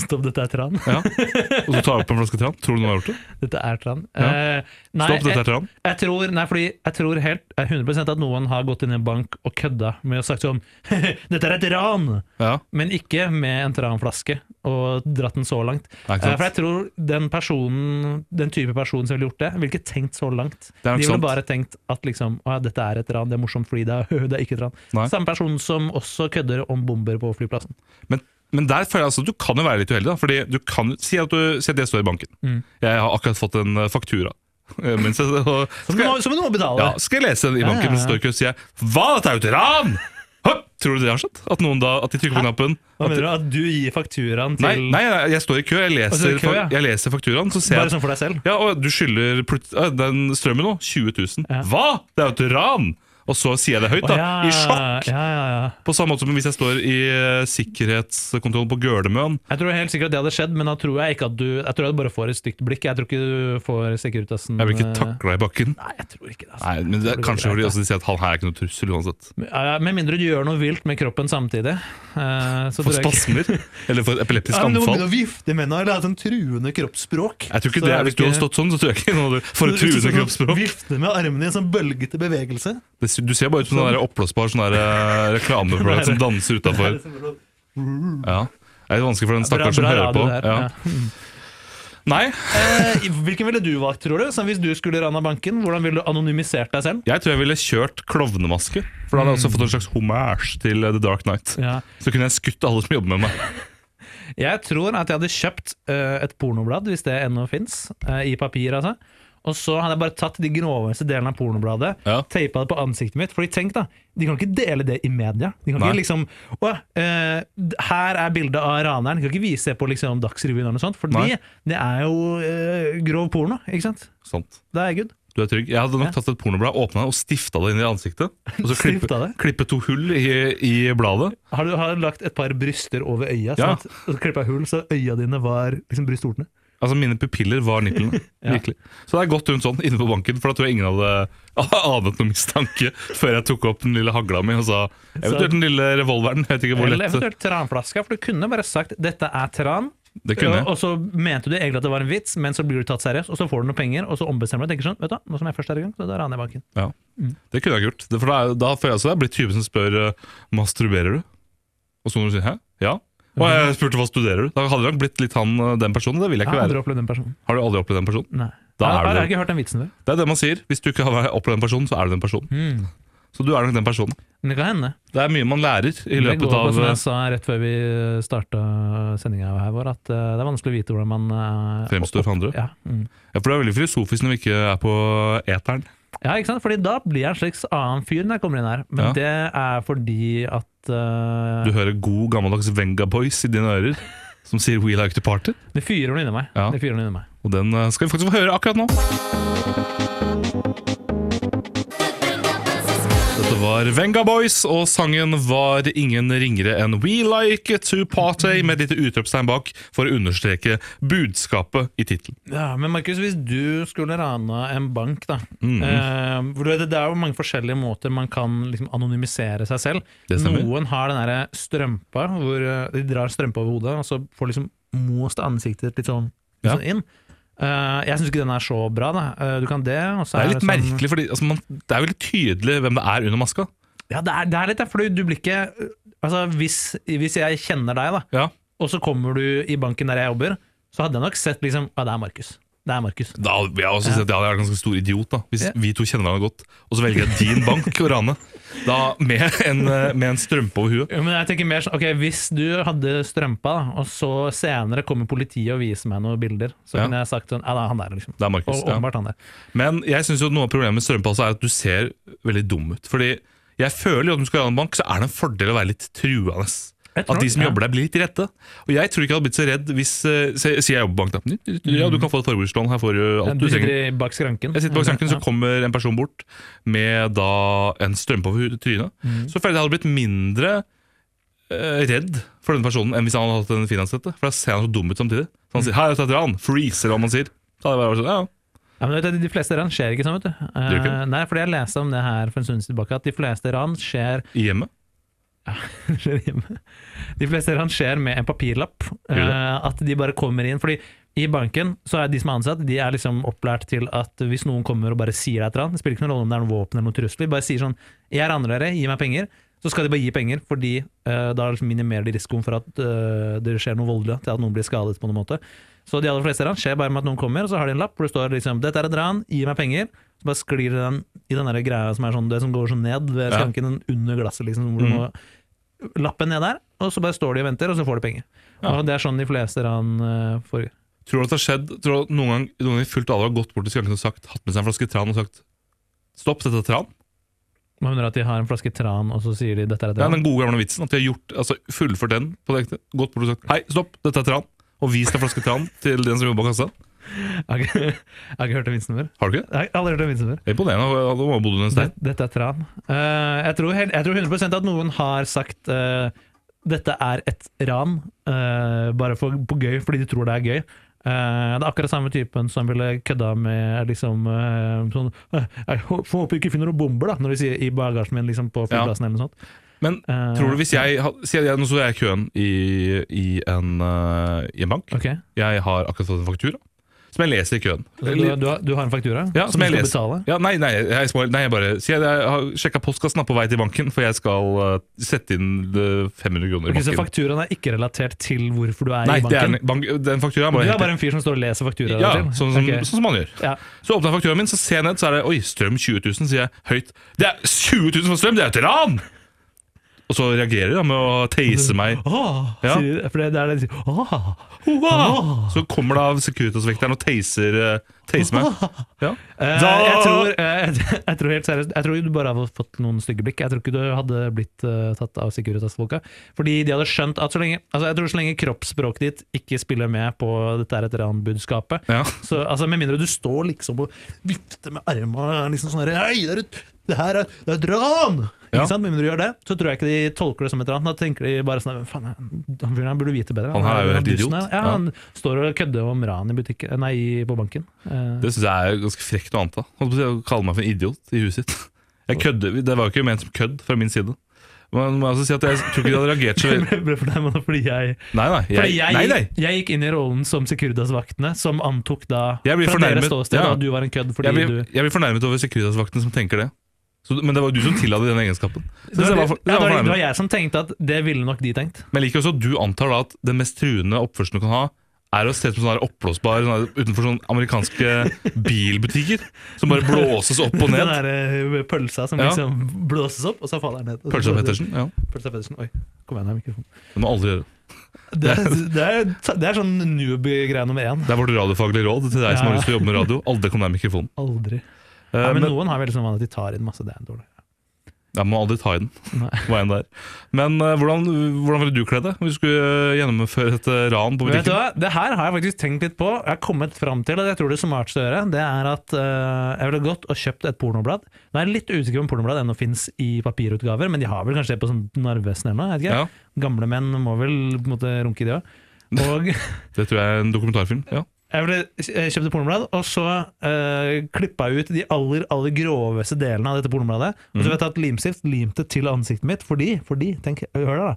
D: Stopp, dette er tran.
C: Ja. Og så tar du opp en flaske tran. Tror du noen har gjort det?
D: Dette er tran.
C: Ja.
D: Eh, nei,
C: Stopp, dette er
D: jeg,
C: tran.
D: jeg tror, nei, fordi jeg tror helt jeg er 100 at noen har gått inn i en bank og kødda med å sagt sånn [LAUGHS] Dette er et ran!
C: Ja,
D: Men ikke med en tranflaske og dratt den så langt.
C: det er
D: Eh,
C: ikke
D: For jeg
C: sant.
D: tror den personen Den type person som ville gjort det, ville ikke tenkt så langt.
C: Det er
D: De
C: nok sant.
D: ville bare tenkt at liksom, å, ja, dette er et ran, det er morsomt fordi det er, [LAUGHS] det er ikke et ran.
C: Nei.
D: Samme person som også kødder om bomber på flyplassen.
C: Men, men der føler jeg altså at du kan jo være litt uheldig. Da, fordi du kan si at, du, si at det står i banken.
D: Mm.
C: Jeg har akkurat fått en eh, faktura. Eh, Mens jeg, og,
D: Som du må, som du må betale!
C: Ja, skal jeg lese den i banken
D: Ja, ja,
C: mens det
D: ja.
C: står i kø, sier jeg Hva, dette er jo et ran! Hopp! Tror du det har skjedd? At noen da, at de trykker på knappen?
D: Hva
C: At
D: mener
C: de,
D: du? At du gir fakturaen
C: nei,
D: til
C: nei, nei, jeg står i kø, jeg
D: står i
C: leser,
D: kø, ja.
C: fak- jeg leser fakturaen, så ser
D: Bare
C: jeg
D: sånn for deg selv?
C: ja, og du skylder plut- øh, den strømmen nå, 20 000.
D: Ja.
C: Hva? Det er jo et ran! Og så sier jeg det høyt,
D: Å,
C: da.
D: ja,
C: I sjokk!
D: Ja, ja, ja.
C: På samme måte som hvis jeg står i eh, sikkerhetskontrollen på Gølemøen.
D: Jeg tror helt sikkert det hadde skjedd, men da tror jeg ikke at du Jeg tror jeg bare får et stygt blikk. Jeg tror ikke du får Securitasen
C: Jeg blir ikke
D: eh,
C: takla i bakken.
D: Nei, jeg tror ikke det. Altså.
C: Nei, men det,
D: det
C: er
D: går
C: Kanskje
D: greit,
C: fordi
D: da.
C: også de sier at han her er ikke noe trussel uansett.
D: Men, ja, Med mindre du gjør noe vilt med kroppen samtidig. eh, så
C: For
D: tror jeg ikke- [LAUGHS]
C: spasmer eller for et epileptisk
D: Ja, men du må
C: anfall.
D: begynne å vifte med henne, eller ha sånn truende kroppsspråk.
C: Jeg tror ikke
D: Så
C: det,
D: er
C: Hvis du hadde
D: ikke-
C: stått sånn, så tror jeg ikke noe hadde- For et
D: [LAUGHS] Du- du-
C: truende
D: sånn-
C: kroppsspråk.
D: Vifte med armene i en sånn bølgete bevegelse.
C: Det sy- Du ser bare ut som en oppblåsbar sånn der, eh, reklameprogram som danser
D: [LAUGHS] Det er
C: utafor.
D: liksom bare sånn-
C: Ja. Det er litt vanskelig for den stakkaren som
D: Bra- bra
C: hører på.
D: radio der,
C: Ja. Nei,
D: Eh, Hvilken ville du valgt, tror du? Sånn, hvis du skulle rana banken, hvordan ville du anonymisert deg selv?
C: jeg tror jeg ville kjørt klovnemaske. For da hadde jeg også fått en slags hommage til eh, The Dark Night.
D: Ja.
C: Så kunne jeg skutt alle som jobber med meg.
D: Jeg tror at jeg hadde kjøpt eh, et pornoblad, hvis det ennå fins, i papir, altså. Og så hadde jeg bare tatt de groveste delene av pornobladet,
C: Ja.
D: teipa det på ansiktet mitt. Fordi tenk da, de kan ikke dele det i media. De kan
C: Nei.
D: ikke liksom Å, eh, d- her er bildet av raneren. De kan ikke vise det på liksom, Dagsrevyen eller noe sånt, for
C: Nei.
D: det, det er jo eh, grov porno, ikke sant?
C: Sant.
D: Det er good.
C: Du er trygg. Jeg hadde
D: Ja.
C: nok tatt et pornoblad, åpna det og stifta det inn i ansiktet. Og så klippe,
D: Stifta det?
C: klippe to hull i, i bladet.
D: Har du har du lagt et par bryster over
C: Ja.
D: øya, sånn at og så klippa jeg hull, så øya dine var liksom brystvortene?
C: Altså Mine pupiller var
D: [LAUGHS]
C: nipplene.
D: Ja.
C: Virkelig. Så det er godt rundt sånn inne på banken, for da tror jeg ingen hadde [LAUGHS] anet noen mistanke før jeg tok opp den lille hagla mi og sa eventuelt den lille revolveren. Jeg vet ikke hvor
D: Eller
C: lett
D: eventuelt tranflaska, for du kunne bare sagt 'dette er tran'.
C: det kunne jeg.
D: Og så mente du egentlig at det var en vits, men så blir du tatt seriøst, og så får du noen penger, og så ombestemmer du deg. Tenker sånn, vet du, hva, nå som jeg først er i gang, så da raner jeg banken.
C: Ja. Det kunne jeg ikke gjort. Det, for da, er- da føler jeg også det er blitt typen som spør eh, masturberer du? Og så når du sier hæ? Ja. Og jeg spurte hva studerer du? Da hadde det nok blitt litt han eh, den personen. Det vil jeg
D: Jeg
C: ikke
D: har aldri
C: være.
D: opplevd den personen.
C: Har du aldri opplevd den personen?
D: Nei.
C: Da er
D: jeg, har-
C: du-
D: jeg har ikke hørt den vitsen før.
C: Det er det man sier. Hvis du ikke har opplevd den personen, så er du den personen.
D: Mm.
C: Så du er nok den personen.
D: Men det kan hende.
C: Det er mye man lærer i
D: Det går
C: løpet
D: på,
C: av
D: som
C: eh,
D: jeg sa rett før vi eh, starta sendinga her vår, at eh, det er vanskelig å vite hvordan man eh,
C: fremstår for andre.
D: Ja, mm.
C: Ja, for det er veldig filosofisk når vi ikke er på eteren.
D: ja, ikke sant? Fordi da blir jeg en slags annen fyr når jeg kommer inn her. Men
C: Ja.
D: det er fordi at eh,
C: Du hører god gammeldags Venga Boys i dine ører, som sier 'We like to party'.
D: det fyrer noe inni meg.
C: Ja.
D: Det fyrer noe inni meg.
C: Og den eh, skal vi faktisk få høre akkurat nå. Dette var Venga Boys, og sangen var ingen ringere enn We Like To Party, med et lite utropstegn bak for å understreke budskapet i tittelen.
D: Ja, Men Markus, hvis du skulle rana en bank, da
C: Mhm.
D: eh, for du vet, Det er jo mange forskjellige måter man kan liksom, anonymisere seg selv.
C: Det stemmer.
D: Noen har den derre strømpa, hvor eh, de drar strømpa over hodet, og så får liksom most ansiktet litt sånn, litt
C: Ja.
D: sånn inn. Eh, jeg syns ikke den er så bra, da. Eh, du kan det, og
C: Det er
D: så er
C: litt
D: sånn-
C: merkelig, for altså, man- det er veldig tydelig hvem det er under maska.
D: Ja, det er, det er litt det, for du blir ikke Altså, hvis, hvis jeg kjenner deg, da,
C: Ja.
D: og så kommer du i banken der jeg jobber, så hadde jeg nok sett liksom Ja, det er Markus. Det er Markus.
C: Da vil jeg også
D: Ja.
C: si at jeg er en ganske stor idiot, da. Hvis
D: Ja.
C: vi to kjenner hverandre godt, og så velger jeg din bank å rane. Da med en, eh, med en strømpe over huet.
D: Jo, men jeg tenker mer sånn, ok, Hvis du hadde strømpa, da, og så senere kommer politiet og viser meg noen bilder, så
C: Ja.
D: kunne jeg sagt sånn Ja, da, han der, liksom.
C: Det er
D: Og
C: Markus. Ja.
D: åpenbart han der.
C: Men jeg synes jo at noe av problemet med strømpa også er at du ser veldig dum ut. Fordi jeg føler jo at når du skal rane en bank, så er det en fordel å være litt truende.
D: Jeg tror
C: At de
D: det,
C: som
D: ja.
C: jobber der, blir litt redde. Og jeg tror ikke jeg hadde blitt så redd hvis eh, se- Sier jeg jobber på bank, da. Ja, du kan få et forbrukslån. Her får du
D: Ja,
C: alt du
D: Du
C: trenger.
D: sitter i- bak skranken.
C: Jeg sitter bak skranken, så
D: Ja.
C: kommer en person bort med da en strømpe over hu- trynet.
D: Mm.
C: Så føler jeg at jeg hadde blitt mindre eh, redd for denne personen enn hvis han hadde hatt en finansiette. For da ser han så dum ut samtidig. Så
D: Mm.
C: han sier 'her er et veteran', freeze, eller hva man sier. Så hadde jeg bare vært sånn, ja,
D: Ja, men vet du, De fleste ran skjer ikke sånn, vet du. Eh,
C: Gjør ikke det?
D: nei, fordi Jeg leste om det her for en stund tilbake, at de fleste ran skjer,
C: i hjemmet.
D: [LAUGHS] skjer hjemme. De fleste ran skjer med en papirlapp.
C: Gjør det?
D: eh, at de bare kommer inn. Fordi i banken så er de som er ansatt, de er liksom opplært til at hvis noen kommer og bare sier deg et eller annet, det spiller ikke noen rolle om det er noen våpen eller noen trusler, bare sier sånn 'Jeg raner dere, gi meg penger', så skal de bare gi penger, fordi eh, da liksom minimerer de risikoen for at eh, det skjer noe voldelig, til at noen blir skadet på noen måte. Så de aller fleste ran skjer bare med at noen kommer, og så har de en lapp hvor det står liksom 'Dette er et ran, gi meg penger'. Så bare sklir det den i den der greia som er sånn, det som går sånn ned ved
C: Ja.
D: skranken, den under glasset, liksom, hvor du må lappe ned der, og så bare står de og venter, og så får de penger.
C: Ja.
D: Og det er sånn de fleste ran eh, foregår.
C: Tror du at det har skjedd Tror du at noen gang noen i fullt alvor har gått bort til skranken og sagt, hatt med seg en flaske tran og sagt 'stopp, dette er tran'?
D: Man mener at de har en flaske tran, og så sier de 'dette er
C: Det er
D: tran'.
C: den gode gamle vitsen. At de har gjort, altså, fullført den på det ekte. Gått bort og sagt 'hei, stopp, dette er tran', og vist en flaske tran til den som jobber bak kassa.
D: Jeg [LAUGHS] har ikke- jeg har ikke hørt den vitsen før.
C: Har du ikke det?
D: Jeg har aldri hørt den vitsen før.
C: Imponerende. Da må ha bodd under en stein.
D: Det- Dette er tran. Eh, jeg, tror, hel- jeg tror 100 at noen har sagt eh, 'dette er et ran', eh, bare for, på gøy, fordi de tror det er gøy. Eh, det er akkurat samme typen som ville kødda med liksom eh, sånn eh, 'Jeg hå- får håpe du ikke finner noen bomber', da, når de sier 'i bagasjen min' liksom på
C: Ja.
D: flyplassen eller noe sånt.
C: Men
D: Eh,
C: Tror du hvis jeg ha- Si at jeg, nå står jeg i køen i, i, en, eh, i en bank.
D: Ok,
C: Jeg har akkurat fått en faktura som jeg leser i køen.
D: så du, du, har, du har en faktura
C: Ja, som
D: du
C: jeg
D: skal
C: leser.
D: betale?
C: Ja, nei, nei, jeg, små- nei, jeg bare Si at jeg har sjekka postkassen da, på vei til banken, for jeg skal eh, sette inn eh, 500 kroner i
D: Ok, så
C: banken.
D: fakturaen er ikke relatert til hvorfor du er
C: Nei,
D: i
C: det er,
D: banken?
C: en- bank, den fakturaen er
D: Du
C: bare
D: er
C: helt
D: bare en fyr som står og leser fakturaer?
C: ja,
D: av og til?
C: sånn som,
D: Ok.
C: sånn som man gjør.
D: Ja.
C: Så åpner jeg fakturaen min, så ser jeg ned, så er det Oi, strøm 20 000, sier jeg høyt. Det er 20 000 for strøm! Det er jo et ran! Og så reagerer jeg med å teise meg.
D: Åh,
C: Ja.
D: sier, for det det er det de sier Åh,
C: Hurra! Så kommer da Securitas-vekteren og taser, eh, taser meg. Ja.
D: Eh,
C: Da-
D: jeg, tror, eh, jeg, jeg tror helt seriøst Jeg tror du bare hadde fått noen stygge blikk. Jeg tror ikke du hadde blitt eh, tatt av Securitas-folka. Fordi de hadde skjønt at så lenge Altså jeg tror så lenge kroppsspråket ditt ikke spiller med på dette er et ranbudskapet
C: Ja.
D: Så, altså, med mindre du står liksom og vifter med armene liksom sånn her, Hei, det er et, det her er, det er et ran!
C: Ja.
D: Ikke sant? Med mindre du gjør det, så tror jeg ikke de tolker det som et ran. Da tenker de bare sånn "Men faen, Han fyren her burde vite bedre.
C: Han her er jo helt
D: dusten
C: idiot.
D: her." Ja,
C: Ja.
D: han står og kødder om ran i butikken Nei, på banken. Eh,
C: Det syns jeg er ganske frekt og anta. Holdt på å si, Å kalle meg for en idiot i huset sitt. Jeg kødde, Det var jo ikke ment som kødd fra min side. Men må jeg også si at jeg tror ikke de hadde
D: [LAUGHS]
C: reagert så veldig
D: Det ble for deg, men fordi jeg,
C: Nei, nei.
D: fordi
C: Jeg,
D: jeg,
C: nei, nei.
D: jeg gikk inn i rollen som Securitas-vaktene, som antok da
C: Jeg blir
D: fra
C: fornærmet,
D: deres ståsted
C: ja.
D: at du var en kødd fordi
C: Jeg blir,
D: du
C: jeg blir fornærmet over Securitas-vaktene som tenker det. Så, men det var jo du som tilla det den egenskapen. Så
D: det
C: jeg
D: var,
C: var for-
D: ja,
C: jeg
D: det,
C: var
D: var, det
C: fornærmet.
D: var jeg som tenkte at det ville nok de tenkt.
C: Men jeg liker også at du antar da at den mest truende oppførselen du kan ha, er å se ut som sånn her oppblåsbar sånn her, utenfor sånne
D: [LAUGHS]
C: amerikanske bilbutikker. Som bare blåses opp og
D: Den
C: ned.
D: der eh, pølsa som
C: Ja.
D: liksom blåses opp, og så faller den ned. Og så-
C: Pølsa Pettersen. ja
D: Pølsa Pettersen, Oi, kom igjen, det er mikrofonen.
C: Det må aldri gjøre.
D: Det er, det er, det er sånn newbie-greie nummer én.
C: Det er vårt radiofaglige råd til deg som
D: Ja.
C: har lyst til å jobbe med radio. Aldri kom nær mikrofonen.
D: Aldri.
C: Eh,
D: Nei, men
C: men,
D: noen har veldig sånn vane at de tar inn masse. Det er dårlig.
C: jeg må aldri ta i den.
D: Nei.
C: Hva enn det er. Men eh, hvordan, hvordan ville du kledd deg hvis du skulle eh, gjennomføre et eh, ran på
D: Vet du
C: butikken?
D: hva? Det her har jeg faktisk tenkt litt på. Jeg har kommet fram til, og jeg tror det smarteste å gjøre, det er at eh, jeg ville gått og kjøpt et pornoblad. Nå er jeg litt usikker på om pornoblad ennå fins i papirutgaver, men de har vel kanskje det på sånn Narvesen eller noe? jeg vet ikke.
C: Ja,
D: Gamle menn må vel på en måte runke i det òg.
C: [LAUGHS]
D: Og
C: det tror jeg er en dokumentarfilm. Ja.
D: jeg ville jeg kjøpte pornoblad, og så uh, klippa jeg ut de aller aller groveste delene av dette pornobladet. Og så
C: Mhm.
D: vet jeg tatt limstift, limt det til ansiktet mitt, fordi, fordi tenk, hør da, da.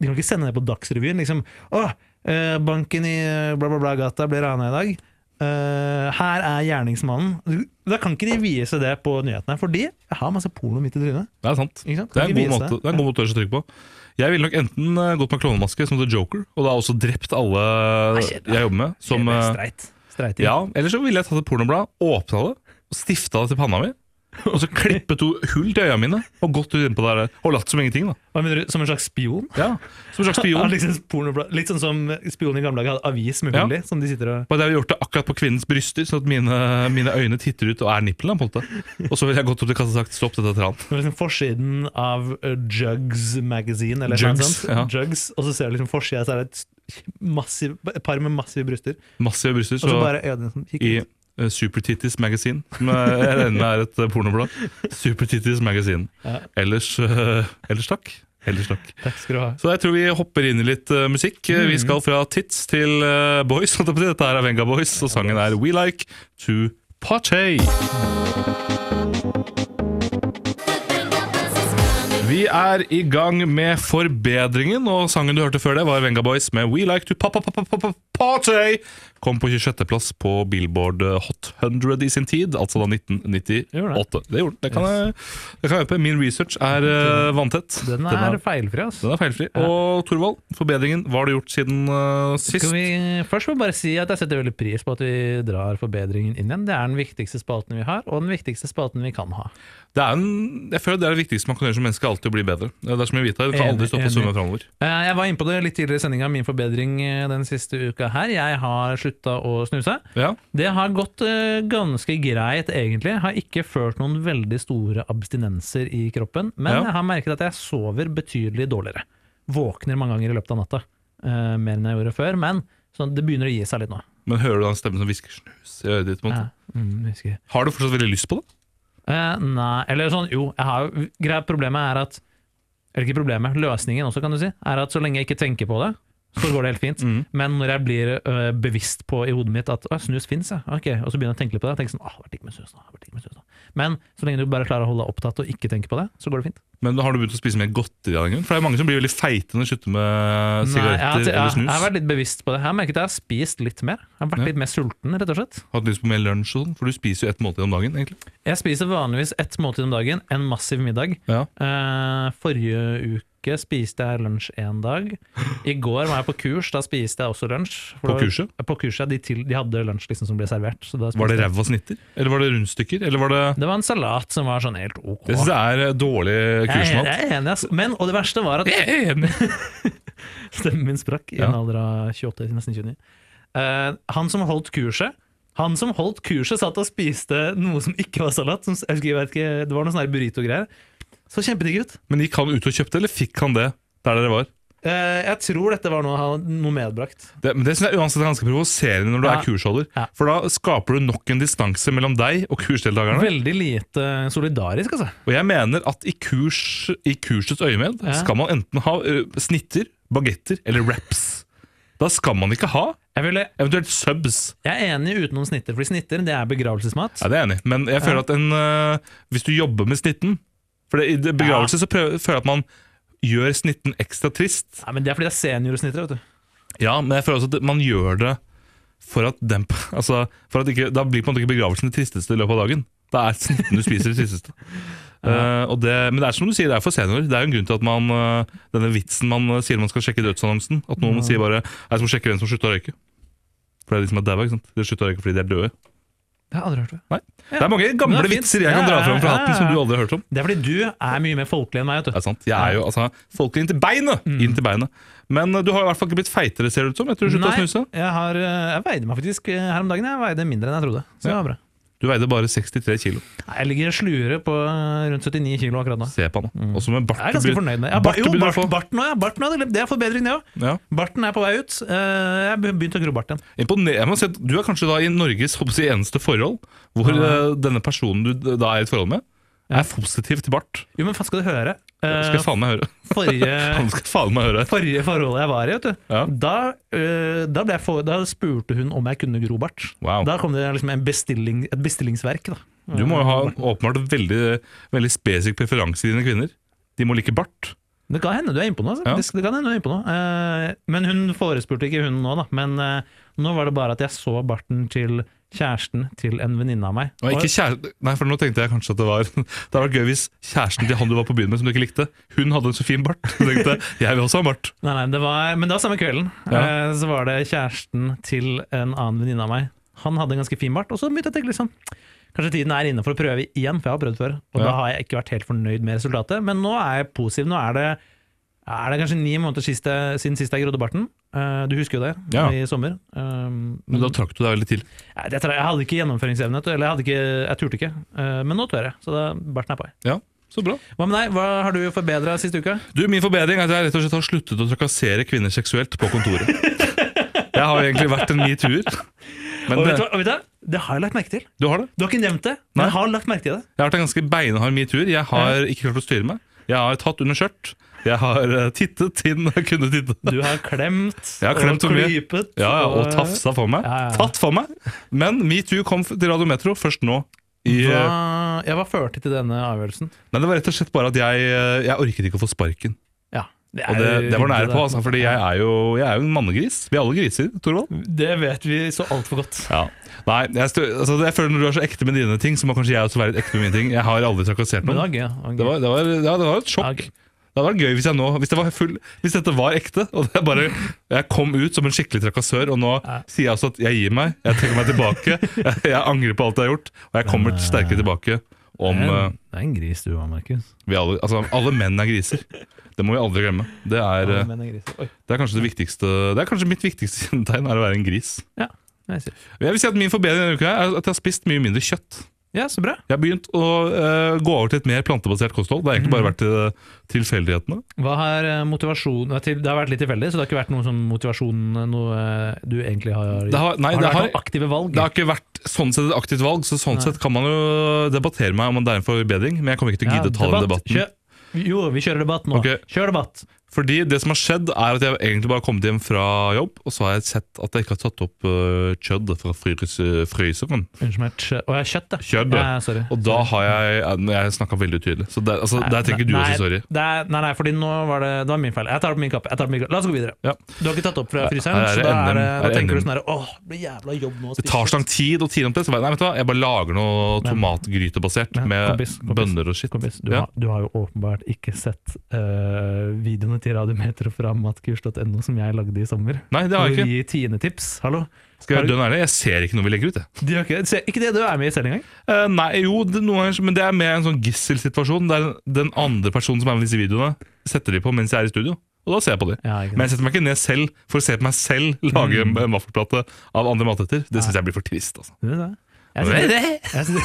D: De kan ikke sende det på Dagsrevyen. liksom, Åh, eh, banken i eh, bla, bla, bla gata ble rana i dag. Eh, her er gjerningsmannen. Da kan ikke de vise det på nyhetene, fordi jeg har masse porno midt i trynet.
C: Det er sant.
D: Ikke sant?
C: Det er en
D: Kan ikke
C: god
D: vise
C: måte, det er en god måte å tørre å trykke på. Jeg ville nok enten eh, gått med klovnemaske som The Joker, og da også drept alle jeg jobber med. Som, eh,
D: Streit. Streit inn.
C: ja, Eller så ville jeg tatt et pornoblad, åpna det og stifta det til panna mi. og så klippet hun hull til øya mine og gått ut innpå der og latt som ingenting. da.
D: Hva mener du, Som en slags spion?
C: Ja, Som en slags
D: Ja,
C: spion.
D: liksom pornoblad- litt sånn som spionen i gamle dager hadde avis med hull
C: Ja.
D: i, som de sitter og
C: Bare det har jeg gjort det akkurat på kvinnens bryster, sånn at mine, mine øyne titter ut og er nippelen. på en måte. Og så ville jeg gått opp til kassa og sagt stopp dette er tran.
D: det var liksom Forsiden av eh, Jugs Magazine, eller noe
C: Jugs,
D: sånt.
C: ja.
D: Jugs, og så ser du liksom forsida, så er det et massiv, et par med massive bryster.
C: Massive bryster.
D: Og så
C: Så
D: bare øynene som kikker
C: i
D: ut.
C: eh, Super Titties Magazine, som jeg jeg regner med er et eh, pornoblad. Super Titties Magazine.
D: Ja.
C: Ellers, eh, ellers takk. Ellers takk.
D: Takk skal du ha.
C: Så jeg tror vi hopper inn i litt eh, musikk. Eh, Vi skal fra Tits til eh, Boys. holdt jeg på å si. Dette her er Venga Boys, og sangen er We Like To Party. Vi er i gang med forbedringen, og sangen du hørte før det, var Venga Boys med We Like To Pa-Pa-Pa-Pa-Party. Kom på 26.-plass på Billboard eh, Hot 100 i sin tid, altså da 1998. Det
D: Gjorde
C: gjorde den. Det kan jeg, det kan jeg hjelpe. Min research er eh, vanntett.
D: Den er, feilfri, ass.
C: Den er feilfri. Og Thorvald, forbedringen. Hva har du gjort siden eh, sist?
D: Skal vi først må jeg bare si at jeg setter veldig pris på at vi drar forbedringen inn igjen. Det er den viktigste spalten vi har, og den viktigste spalten vi kan ha.
C: Det er en, jeg føler det er det viktigste man kan gjøre som menneske, alltid å bli bedre. Det er som jeg vet, det kan aldri
D: Enig,
C: stoppe å
D: enig.
C: svømme framover.
D: Eh, Jeg var inne på det litt tidligere i sendinga, min forbedring eh, den siste uka her. Jeg har slutta å snuse.
C: Ja.
D: Det har gått eh, ganske greit, egentlig. Har ikke ført noen veldig store abstinenser i kroppen. Men
C: Ja.
D: jeg har merket at jeg sover betydelig dårligere. Våkner mange ganger i løpet av natta. eh, mer enn jeg gjorde før. Men sånn, det begynner å gi seg litt nå.
C: Men hører du da en stemme som hvisker 'snus' i øret ditt? på en måte?
D: Ja. Mm, husker.
C: Har du fortsatt veldig lyst på det?
D: Eh, nei, eller sånn, jo, jeg har jo greit problemet er at Eller ikke problemet, løsningen også, kan du si, er at så lenge jeg ikke tenker på det, så går det helt fint.
C: Mm.
D: Men når jeg blir ø, bevisst på i hodet mitt at «Å, snus fins, ja. Ok, og så begynner jeg å tenke litt på det. og tenker sånn, «Åh, vært digg med snus nå, vært digg med snus nå. Men så lenge du bare klarer å holde deg opptatt og ikke tenke på det, så går det fint.
C: Men har du begynt å spise mer godteri? av den grunn? For det er mange som blir veldig feite når de slutter med eh,
D: Nei, jeg, har-
C: sigaretter
D: jeg,
C: eller
D: jeg,
C: snus.
D: har vært litt bevisst på det. Jeg har merket at jeg har spist litt mer. Jeg har vært
C: Ja.
D: litt mer sulten, rett og slett.
C: Hatt lyst på mer lunsj og sånn, for du spiser jo ett måltid om dagen. egentlig.
D: Jeg spiser vanligvis ett måltid om dagen, en massiv middag.
C: Ja.
D: Eh, forrige uke spiste jeg lunsj én dag. I går var jeg på kurs, da spiste jeg også lunsj.
C: På
D: For det var-
C: kurset?
D: På kurset, De, til, de hadde lunsj liksom som ble servert. Så da spiste
C: Var det
D: jeg-
C: ræva snitter? Eller var det rundstykker? Eller var det
D: Det var en salat som var sånn helt ok.
C: Jeg syns det er eh, dårlig
D: jeg, er-
C: kursmat.
D: jeg er enig, ass. Men, og det verste var at
C: Jeg er enig.
D: [LAUGHS] stemmen min sprakk i
C: Ja.
D: en alder av 28, til nesten 29. Eh, han som holdt kurset, han som holdt kurset, satt og spiste noe som ikke var salat. Som, jeg husker, jeg vet ikke, det var noe sånn her burrito-greier. Så kjempedigg ut.
C: Men gikk han ut og kjøpte, eller fikk han det der dere var?
D: Eh, jeg tror dette var noe, han- noe medbrakt.
C: Det, men det synes jeg uansett er ganske provoserende når du
D: Ja.
C: er kursholder.
D: Ja.
C: For da skaper du nok en distanse mellom deg og kursdeltakerne.
D: Veldig lite solidarisk, altså.
C: Og jeg mener at i, kurs, i kursets øyemed
D: Ja.
C: skal man enten ha ø, snitter, bagetter eller wraps. Da skal man ikke ha
D: Jeg, ville,
C: eventuelt subs.
D: jeg er enig utenom snitter, fordi snitter det er begravelsesmat.
C: Ja, det er jeg enig. i. Men jeg føler at en, ø, hvis du jobber med snitten For det, i det begravelse så prøver, føler jeg at man gjør snitten ekstra trist.
D: Nei, men Det er fordi det er seniorsnitter. vet du.
C: Ja, men jeg føler også at man gjør det for at, den, [LAUGHS] altså, for at ikke, Da blir på en måte ikke begravelsen det tristeste i løpet av dagen. Da er snitten du spiser, det
D: [LAUGHS]
C: tristeste. Eh, og det, men det er som du sier, det er for seniorer. Det er jo en grunn til at man eh, denne vitsen man eh, sier man skal sjekke i dødsannonsen, at noen sier bare Jeg skal sjekke hvem som slutta å røyke. For det er de som er daua, ikke sant. De slutta å røyke fordi de er døde.
D: Det har jeg aldri hørt før.
C: Nei. Det er mange
D: Men
C: gamle
D: det er fint.
C: vitser jeg kan
D: Ja,
C: dra
D: ja,
C: fram fra
D: ja,
C: hatten
D: ja.
C: som du aldri har hørt om.
D: Det er fordi du er mye mer folkelig enn meg. vet
C: Det
D: du.
C: er sant. Jeg er jo altså folk inn til beinet!
D: Mm.
C: Inn til beinet. Men eh, du har i hvert fall ikke blitt feitere, ser det ut som, etter du slutta å
D: Nei,
C: snuse.
D: jeg, har, eh, jeg veide meg faktisk eh, her om dagen. Jeg veide mindre enn jeg trodde. Så det
C: Ja.
D: var bra.
C: Du veide bare 63 kilo.
D: Nei, Jeg ligger sluere på eh, rundt 79 kilo akkurat nå.
C: Se på han. da. Også med bart.
D: Mm. Jeg er ganske
C: du
D: fornøyd med det.
C: bart
D: Ja, bart,
C: du
D: jo,
C: begynner å
D: bart,
C: få.
D: barten også, ja, barten også, det- det er forbedring, det òg.
C: Ja.
D: Barten er på vei ut. Eh, Jeg har begynt å gro bart igjen.
C: Imponer- jeg må si at Du er kanskje da i Norges håper jeg, eneste forhold hvor eh, denne personen du da er i et forhold med, er positiv til bart.
D: Jo, men faen skal du høre.
C: Det skal jeg faen meg høre. [LAUGHS]
D: Eh, forrige
C: Han skal faen meg høre.
D: forrige forholdet jeg var i, vet du,
C: Ja.
D: da, øh, da, ble jeg for, da spurte hun om jeg kunne gro bart.
C: Wow.
D: Da kom det liksom en bestilling, et bestillingsverk. Da.
C: Du må jo ha åpenbart veldig, veldig spesifikk preferanse i dine kvinner. De må like bart.
D: Det kan hende du er innpå noe. Altså.
C: Ja.
D: Det, det kan hende du er innpå noe. Eh, men hun forespurte ikke hun nå, da. Men eh, nå var det bare at jeg så barten til kjæresten til en venninne av meg.
C: Og ikke kjære... Nei, for nå tenkte jeg kanskje at det var [LAUGHS] Det hadde vært gøy hvis kjæresten til han du var på byen med, som du ikke likte, hun hadde en så fin bart. Så tenkte jeg jeg vil også ha bart.
D: Nei, nei, det var, men det var samme kvelden.
C: Ja.
D: Eh, Så var det kjæresten til en annen venninne av meg. Han hadde en ganske fin bart, og så begynte jeg å tenke litt sånn Kanskje tiden er inne for å prøve igjen, for jeg har prøvd før. Og
C: Ja.
D: da har jeg ikke vært helt fornøyd med resultatet. Men nå er jeg positiv. Nå er det, er det kanskje ni måneder siste, siden sist jeg grodde barten. Eh, du husker jo det,
C: Ja.
D: i sommer. Um,
C: Men da trakk du deg veldig til.
D: Nei, det tror jeg, jeg hadde ikke gjennomføringsevne, eller jeg, hadde ikke, jeg turte ikke. Eh, Men nå tør jeg, så da, barten er på. vei.
C: Ja, så bra.
D: Hva med deg? Hva har du forbedra siste uka?
C: Du, Min forbedring er at jeg rett og slett har sluttet å trakassere kvinner seksuelt på
D: [LAUGHS]
C: kontoret. Jeg har jo egentlig vært en metoo-er. Men
D: Og vet,
C: det,
D: du hva- og vet du, hva? det har jeg lagt merke til.
C: du har det?
D: Du har ikke nevnt det, men
C: Nei.
D: jeg har lagt merke til det.
C: Jeg har vært en ganske beinhard metoo-er. Jeg har ikke klart å styre meg. Jeg har tatt under skjørt. Jeg har eh, tittet inn jeg kunne titte.
D: Du har klemt,
C: [LAUGHS] Jeg har klemt
D: og
C: og mye.
D: klypet.
C: Ja, ja, og tafsa for meg.
D: Ja, ja.
C: Tatt for meg! Men metoo kom til Radio Metro først nå. I,
D: Hva,
C: eh,
D: ja, hva førte til denne avgjørelsen?
C: nei, det var rett og slett bare at jeg, eh, jeg orket ikke å få sparken.
D: Ja, det,
C: Og det, det var nære på, altså, fordi jeg
D: Ja.
C: er jo, jeg er jo en mannegris. Vi er alle griser, Torvald.
D: Det vet vi så altfor godt.
C: Ja. Nei, jeg, stø, altså, jeg føler når du er så ekte med dine ting, så må kanskje jeg også være litt ekte med mine ting. Jeg har aldri trakassert
D: Men det
C: noen.
D: var gøy. Det var gøy.
C: Det var, det var, ja, det var et sjokk.
D: Ja, gøy.
C: Det hadde vært gøy hvis jeg nå Hvis, det var full, hvis dette var ekte, og det er bare, jeg kom ut som en skikkelig trakassør, og nå
D: Ja.
C: sier jeg altså at jeg gir meg, jeg trekker meg tilbake, [LAUGHS] jeg, jeg angrer på alt jeg har gjort, og jeg kommer sterkere tilbake om
D: det, er
C: eh,
D: en, det er en gris du var, Markus.
C: vi alle, altså, alle menn er griser. Det må vi aldri glemme. Det er, eh,
D: Men en gris. Oi.
C: det er kanskje det viktigste Det er kanskje mitt viktigste [LAUGHS] kjennetegn, er å være en gris.
D: Ja, jeg ser.
C: Jeg vil si at Min forbedring denne uka er at jeg har spist mye mindre kjøtt.
D: ja, så bra.
C: Jeg har begynt å eh, gå over til et mer plantebasert kosthold. Det har egentlig bare vært til, tilfeldighetene.
D: Hva Mm. har eh, motivasjon nei, til- Det har vært litt tilfeldig, så det har ikke vært noen sånn motivasjon eh, Noe eh, du egentlig har
C: Det har- nei, det
D: Har det vært
C: har-
D: noen aktive valg?
C: Det har ikke vært sånn sett et aktivt valg, så sånn
D: Nei.
C: sett kan man jo debattere meg om det er en forbedring, men jeg kommer ikke til å gidde å ta den debatten.
D: Kjø jo, vi kjører debatt nå.
C: Ok.
D: Kjør debatt!
C: Fordi det som har skjedd, er at jeg egentlig bare har kommet hjem fra jobb, og så har jeg sett at jeg ikke har tatt opp uh, kjødd fra frys fryseren.
D: Unnskyld meg. kjø- Å, jeg er kjøtt, jeg.
C: Kjødd,
D: Ja, ja, sorry.
C: Og da har jeg Jeg, jeg snakka veldig utydelig, så der, altså, der tenker du
D: nei,
C: også sorry.
D: Det er, nei, nei, fordi nå var det Det var min feil. Jeg tar det på min kappe. Jeg tar det på min kappe. La oss gå videre.
C: Ja.
D: Du har ikke tatt opp fra fryseren,
C: Her er
D: så
C: det
D: da,
C: NM.
D: er det,
C: Her
D: da
C: er NM.
D: tenker du sånn her Åh, det blir jævla jobb nå å
C: Det tar sånn så lang tid å tine opp det. Så bare, nei, vet du hva, jeg bare lager noe
D: Men-
C: tomatgrytebasert
D: Men,
C: med
D: kompis, kompis,
C: bønner og shit.
D: Kompis, du,
C: Ja.
D: har, du har jo åpenbart ikke sett eh, videoene til Radiometer fra matkurs.no som jeg lagde i sommer.
C: Nei, det har jeg
D: Hvor
C: ikke.
D: vi gir tiendetips. Hallo?
C: Skal jeg
D: har
C: være
D: du-
C: dønn ærlig, jeg ser ikke noe vi legger ut, jeg.
D: De har ikke, se, ikke det du er med i selv engang?
C: Eh, nei, jo, det, noen ganger, men det er mer en sånn gisselsituasjon. Der den andre personen som er med i disse videoene, setter de på mens jeg er i studio. Og da ser jeg på de.
D: Ja, ikke sant.
C: Men jeg setter meg ikke ned selv for å se på meg selv [LAUGHS] lage
D: Mm.
C: en, en vaffelplate av andre matretter. Det syns jeg blir for trist. altså.
D: Du vet det. Jeg sitter, jeg sitter,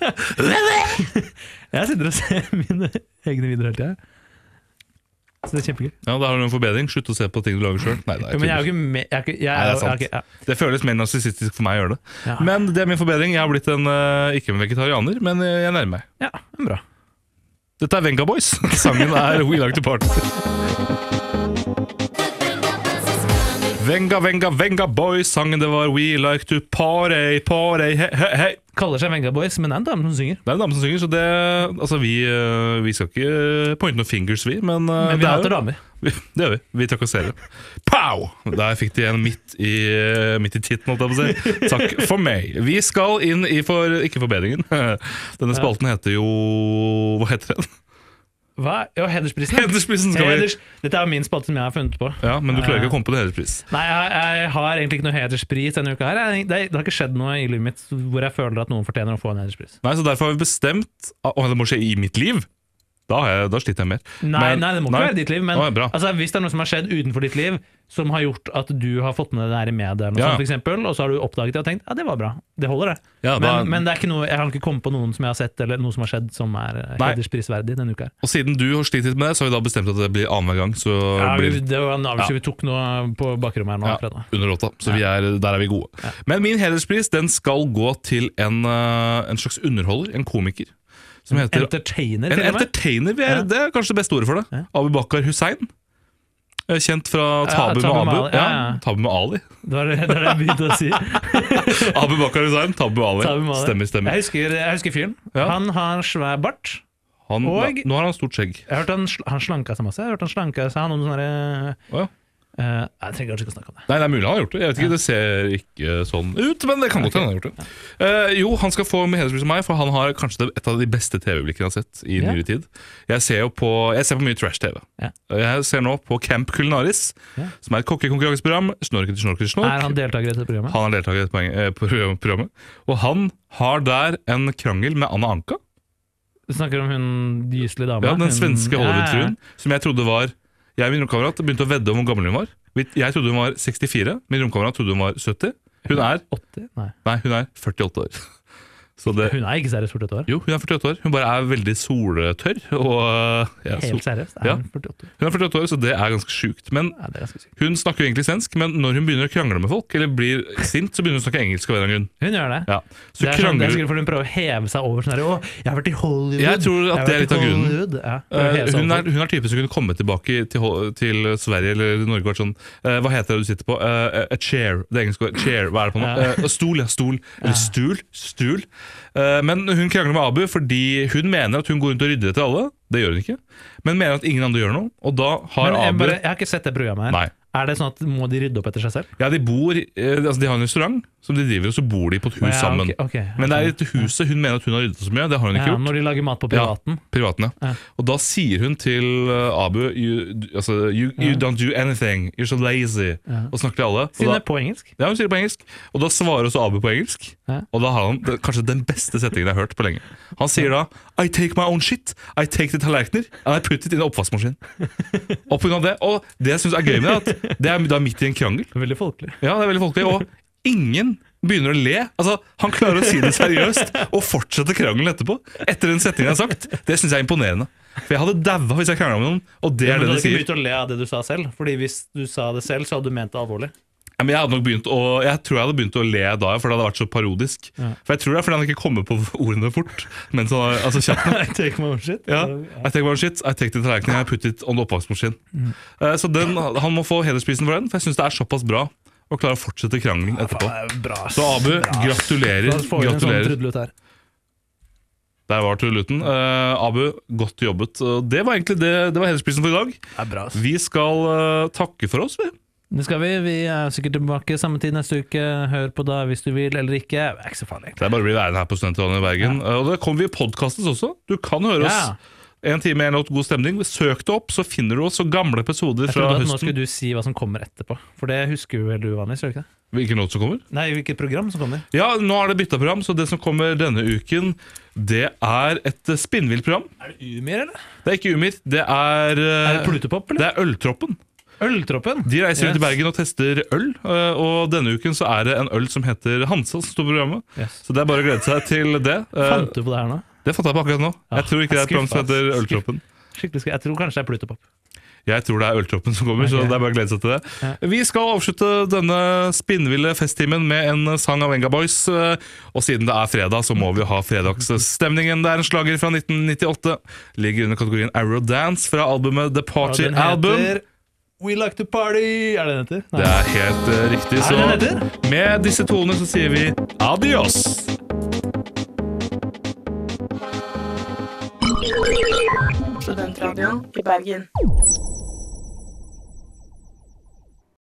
C: [LAUGHS]
D: [LAUGHS] jeg sitter og ser mine egne videoer hele tida. Så det er kjempegøy.
C: Ja, Da har du en forbedring. Slutt å se på ting du lager sjøl. Nei,
D: Jo,
C: det,
D: men jeg er
C: er
D: jo ikke med jeg er ikke, jeg
C: Nei, det er
D: er,
C: sant.
D: jeg er ikke- ja.
C: ikke- det føles mer narsissistisk for meg å gjøre det.
D: Ja.
C: Men det er min forbedring. Jeg har blitt en eh, ikke en vegetarianer, men eh, jeg nærmer meg.
D: ja, men bra.
C: Dette er Venga Boys. Sangen er We Like To Party. Venga, venga, venga boys. Sangen det var We Like To Party, party, hei, hei, hei.
D: Kaller seg Venga Boys, men det er en dame som synger.
C: Det er en dame som synger, så det Altså, vi, eh, vi skal ikke pointe noen fingers, vi, men, eh,
D: Men vi
C: det, er
D: hater
C: jo,
D: damer.
C: [LAUGHS] vi, det gjør vi. Vi trakasserer. Pow! Der fikk de en midt i, eh, midt i titten, holdt jeg på å si. Takk for meg. Vi skal inn i for Ikke forbedringen. [LAUGHS] Denne spalten heter jo Hva heter den?
D: Hva? Jo, hedersprisen. ja.
C: Hedersprisen skal vi
D: Heders. Dette er min spalte som jeg har funnet på.
C: Ja, men du klarer ikke å komme på det hederspris.
D: Nei, jeg, jeg har egentlig ikke noe hederspris denne uka. her Jeg- Det, det har ikke skjedd noe i livet mitt hvor jeg føler at noen fortjener å få en hederspris.
C: Nei, så derfor har vi bestemt Å, det må skje i mitt liv? Da, har jeg, da sliter jeg mer.
D: Nei,
C: Men-
D: nei, det må ikke
C: nei.
D: være ditt liv, men
C: Å, ja, bra.
D: altså, hvis det er noe som har skjedd utenfor ditt liv, som har gjort at du har fått med deg det her i media, eller noe
C: Ja.
D: sånt, for eksempel, og så har du oppdaget det og tenkt ja, det var bra, det holder, det.
C: Ja,
D: men,
C: da-
D: men det er ikke noe, jeg kan ikke komme på noen som jeg har sett, eller noe som har skjedd som er eh,
C: Nei.
D: hedersprisverdig denne uka. her.
C: Og siden du har slitt litt med det, så har vi da bestemt at det blir annenhver gang. Så
D: Ja,
C: blir,
D: vi- det var en avgjørelse
C: Ja.
D: vi tok nå eh, på bakrommet her nå.
C: ja,
D: fredag.
C: under låta. Så vi er, der er vi gode. Men min hederspris den skal gå til en, eh, en slags underholder, en komiker, som heter
D: Entertainer,
C: En
D: til og med.
C: entertainer, vi er,
D: Ja.
C: det er kanskje det beste ordet for det.
D: Ja.
C: Abu Bakar Hussein. Eh, Kjent fra Tabu,
D: Tabu
C: med
D: med
C: Abu.
D: Ali, ja,
C: Ja,
D: ja.
C: Tabu med Ali. [LAUGHS]
D: Det var det det var det jeg begynte å si.
C: Abu Bakar Hussein, Tabu med Ali.
D: Ta med meg.
C: Stemmer, stemmer.
D: Jeg husker, jeg husker fyren.
C: Ja.
D: Han har svær bart.
C: Han,
D: Og-
C: nå har han stort skjegg.
D: Jeg har hørt han, sl- han slanka seg masse. Jeg har hørt han slanka seg, han hadde noen sånne
C: Å, ja.
D: Eh, jeg trenger kanskje ikke å snakke om det.
C: Nei, det er mulig han har gjort det. Jeg vet ikke, Det ser ikke sånn ut, men det kan godt hende han har gjort det. Eh, jo, han skal få med hederspris av meg, for han har kanskje det, et av de beste TV-øyeblikkene jeg har sett i
D: Ja.
C: nyere tid. Jeg ser jo på, jeg ser på mye trash-TV.
D: Ja.
C: Jeg ser nå på Camp Culinaris,
D: Ja.
C: som er et kokkekonkurranseprogram. Snorken til snorken til snork.
D: Er han deltaker i dette programmet?
C: Han er deltaker i dette poeng- eh, på program- programmet. Og han har der en krangel med Anna Anka,
D: Du snakker om hun gyselige dama?
C: ja, den
D: hun-
C: svenske
D: Ja, ja,
C: Hollywood-fruen,
D: ja.
C: som jeg trodde var Jeg og min romkamerat begynte å vedde om hvor gammel hun var. Vi- Jeg trodde hun var 64, min romkamerat trodde hun var 70. Hun er
D: 80? Nei.
C: Nei, hun er 48 år. [LAUGHS] Så det,
D: Hun er ikke seriøst 48 år.
C: jo, hun er 48 år. Hun bare er veldig soletørr. Og, øh, ja, sol,
D: Helt seriøst. Er
C: Ja.
D: hun 48 år?
C: hun er 48 år, så det er ganske sjukt. Men
D: Ja, det er ganske sykt.
C: hun snakker jo egentlig svensk, men når hun begynner å krangle med folk, eller blir sint, så begynner hun å snakke engelsk. av en eller annen grunn.
D: Hun gjør det.
C: Ja. Så
D: det, er sånn, det
C: krangler
D: er sikkert fordi hun prøver å heve seg over sånn her Å, jeg har vært i Hollywood!
C: Jeg tror at
D: har
C: det er
D: vært
C: litt av
D: i
C: grunnen.
D: Hollywood. Ja, prøver å
C: Eh,
D: heve seg
C: hun,
D: over
C: er,
D: folk.
C: hun er typen som kunne komme tilbake til, Hol- til Sverige eller Norge og vært sånn eh, Hva heter det du sitter på? Eh, a chair. Det engelske ordet. Chair. Hva er det på nå?
D: Ja.
C: Eh, stol, ja. Stol. Eller stul. Stul. Eh, men hun krangler med Abu fordi hun mener at hun går rundt og rydder etter alle. Det gjør hun ikke. Men mener at ingen andre gjør noe. Og da har
D: Men jeg,
C: Abu
D: bare, jeg har ikke sett det programmet her.
C: Nei.
D: Er det sånn at Må de rydde opp etter seg selv?
C: Ja, de bor i- eh, Altså, de har en restaurant som de driver, og så bor de på et hus
D: Ja,
C: sammen.
D: ok, ok, ok.
C: Men det er i dette huset hun mener at hun har ryddet så mye. Det har hun ikke
D: Ja,
C: gjort.
D: når de lager mat på
C: Ja,
D: privaten?
C: privaten, ja.
D: Ja.
C: Og da sier hun til uh, Abu you, d- altså, you, you don't do anything, you're so lazy. Og snakker til alle.
D: Siden
C: Og
D: det
C: da,
D: er på engelsk?
C: ja, hun sier det på engelsk. Og da svarer også Abu på engelsk.
D: Ja.
C: Og da har han det, kanskje den beste setningen jeg har hørt på lenge. Han sier da I take my own shit, I take the tallerkener, and I put it in
D: [LAUGHS]
C: oppvaskmaskinen. Og på grunn av det, og det jeg syns er gøy med det, er at det er da midt i en krangel.
D: Veldig folkelig.
C: Ja, det er veldig folkelig. Og ingen begynner å le. Altså, Han klarer å si det seriøst og fortsette krangelen etterpå. Etter den setningen jeg har sagt. Det syns jeg er imponerende. For jeg hadde daua hvis jeg krangla med noen, og det er
D: Men
C: det de
D: du hadde ikke
C: sier.
D: begynt å le av det du sa selv, Fordi hvis du sa det selv, så hadde du ment det alvorlig.
C: [LAUGHS] Ja, men jeg hadde nok begynt å, jeg tror jeg hadde begynt å le da, for det hadde vært så parodisk.
D: Ja.
C: For jeg tror det er fordi han ikke kommer på ordene fort. Mens han har, altså kjapt nok.
D: [LAUGHS] I take my own shit.
C: Ja.
D: Ja.
C: I take one shit, I take the tallerken, I put it on the oppvaskmaskin.
D: Mm.
C: Eh, Så den, han må få hedersprisen for den, for jeg syns det er såpass bra å klare å fortsette krangelen etterpå.
D: Bra.
C: Så Abu, gratulerer.
D: La oss få inn en sånn
C: gratulerer.
D: trudelutt her.
C: Der var trudelutten. Eh, Abu, godt jobbet. Og Det var egentlig det, det var hedersprisen for i dag.
D: Det er bra, ass.
C: Vi skal eh, takke for oss, vi.
D: Det skal vi. Vi er sikkert tilbake samme tid neste uke. Hør på da hvis du vil eller ikke. Det er ikke så farlig.
C: Det er bare å bli værende her på Studentradioen i Bergen. Eh, Og da kommer vi i podkastes også. Du kan høre
D: Ja.
C: oss. En time, en låt, god stemning. Søk det opp, så finner du oss og gamle episoder
D: Jeg
C: fra
D: trodde at nå
C: høsten.
D: skulle du si hva som kommer etterpå, for det husker jo vel du vanligvis? gjør du ikke det?
C: Hvilken låt som kommer?
D: Nei, hvilket program som kommer?
C: Ja, nå er det bytta program, så det som kommer denne uken, det er et eh, spinnvilt program.
D: Er det Umir, eller?
C: Det er ikke Umir, det er
D: Er det
C: eh,
D: Plutopop,
C: Det
D: eller?
C: er Øltroppen.
D: Øltroppen!
C: De reiser rundt
D: Yes.
C: i Bergen og tester øl, øh, og denne uken så er det en øl som heter Hansa som står på programmet.
D: Yes.
C: Så det er bare å glede seg til det. Eh,
D: Fant du på det her nå?
C: Det fant jeg på akkurat nå. Jeg tror ikke det er et program som
D: skuffa, ass.
C: heter Øltroppen.
D: Skikkelig skru- Jeg tror kanskje det er Plutopop.
C: Jeg tror det er Øltroppen som kommer, så
D: Ok.
C: det er bare å glede seg til det. Vi skal avslutte denne spinnville festtimen med en sang av Enga Boys, øh, og siden det er fredag, så må vi ha fredagsstemningen. Det er en slager fra 1998, ligger under kategorien Arrow Dance fra albumet The
D: Og
C: Party
D: den
C: Album.
D: heter We Like To Party! Er det den heter?
C: Det er helt eh, riktig.
D: Er
C: Så
D: det det heter?
C: med disse tonene så sier vi adios.
E: Studentradioen i Bergen.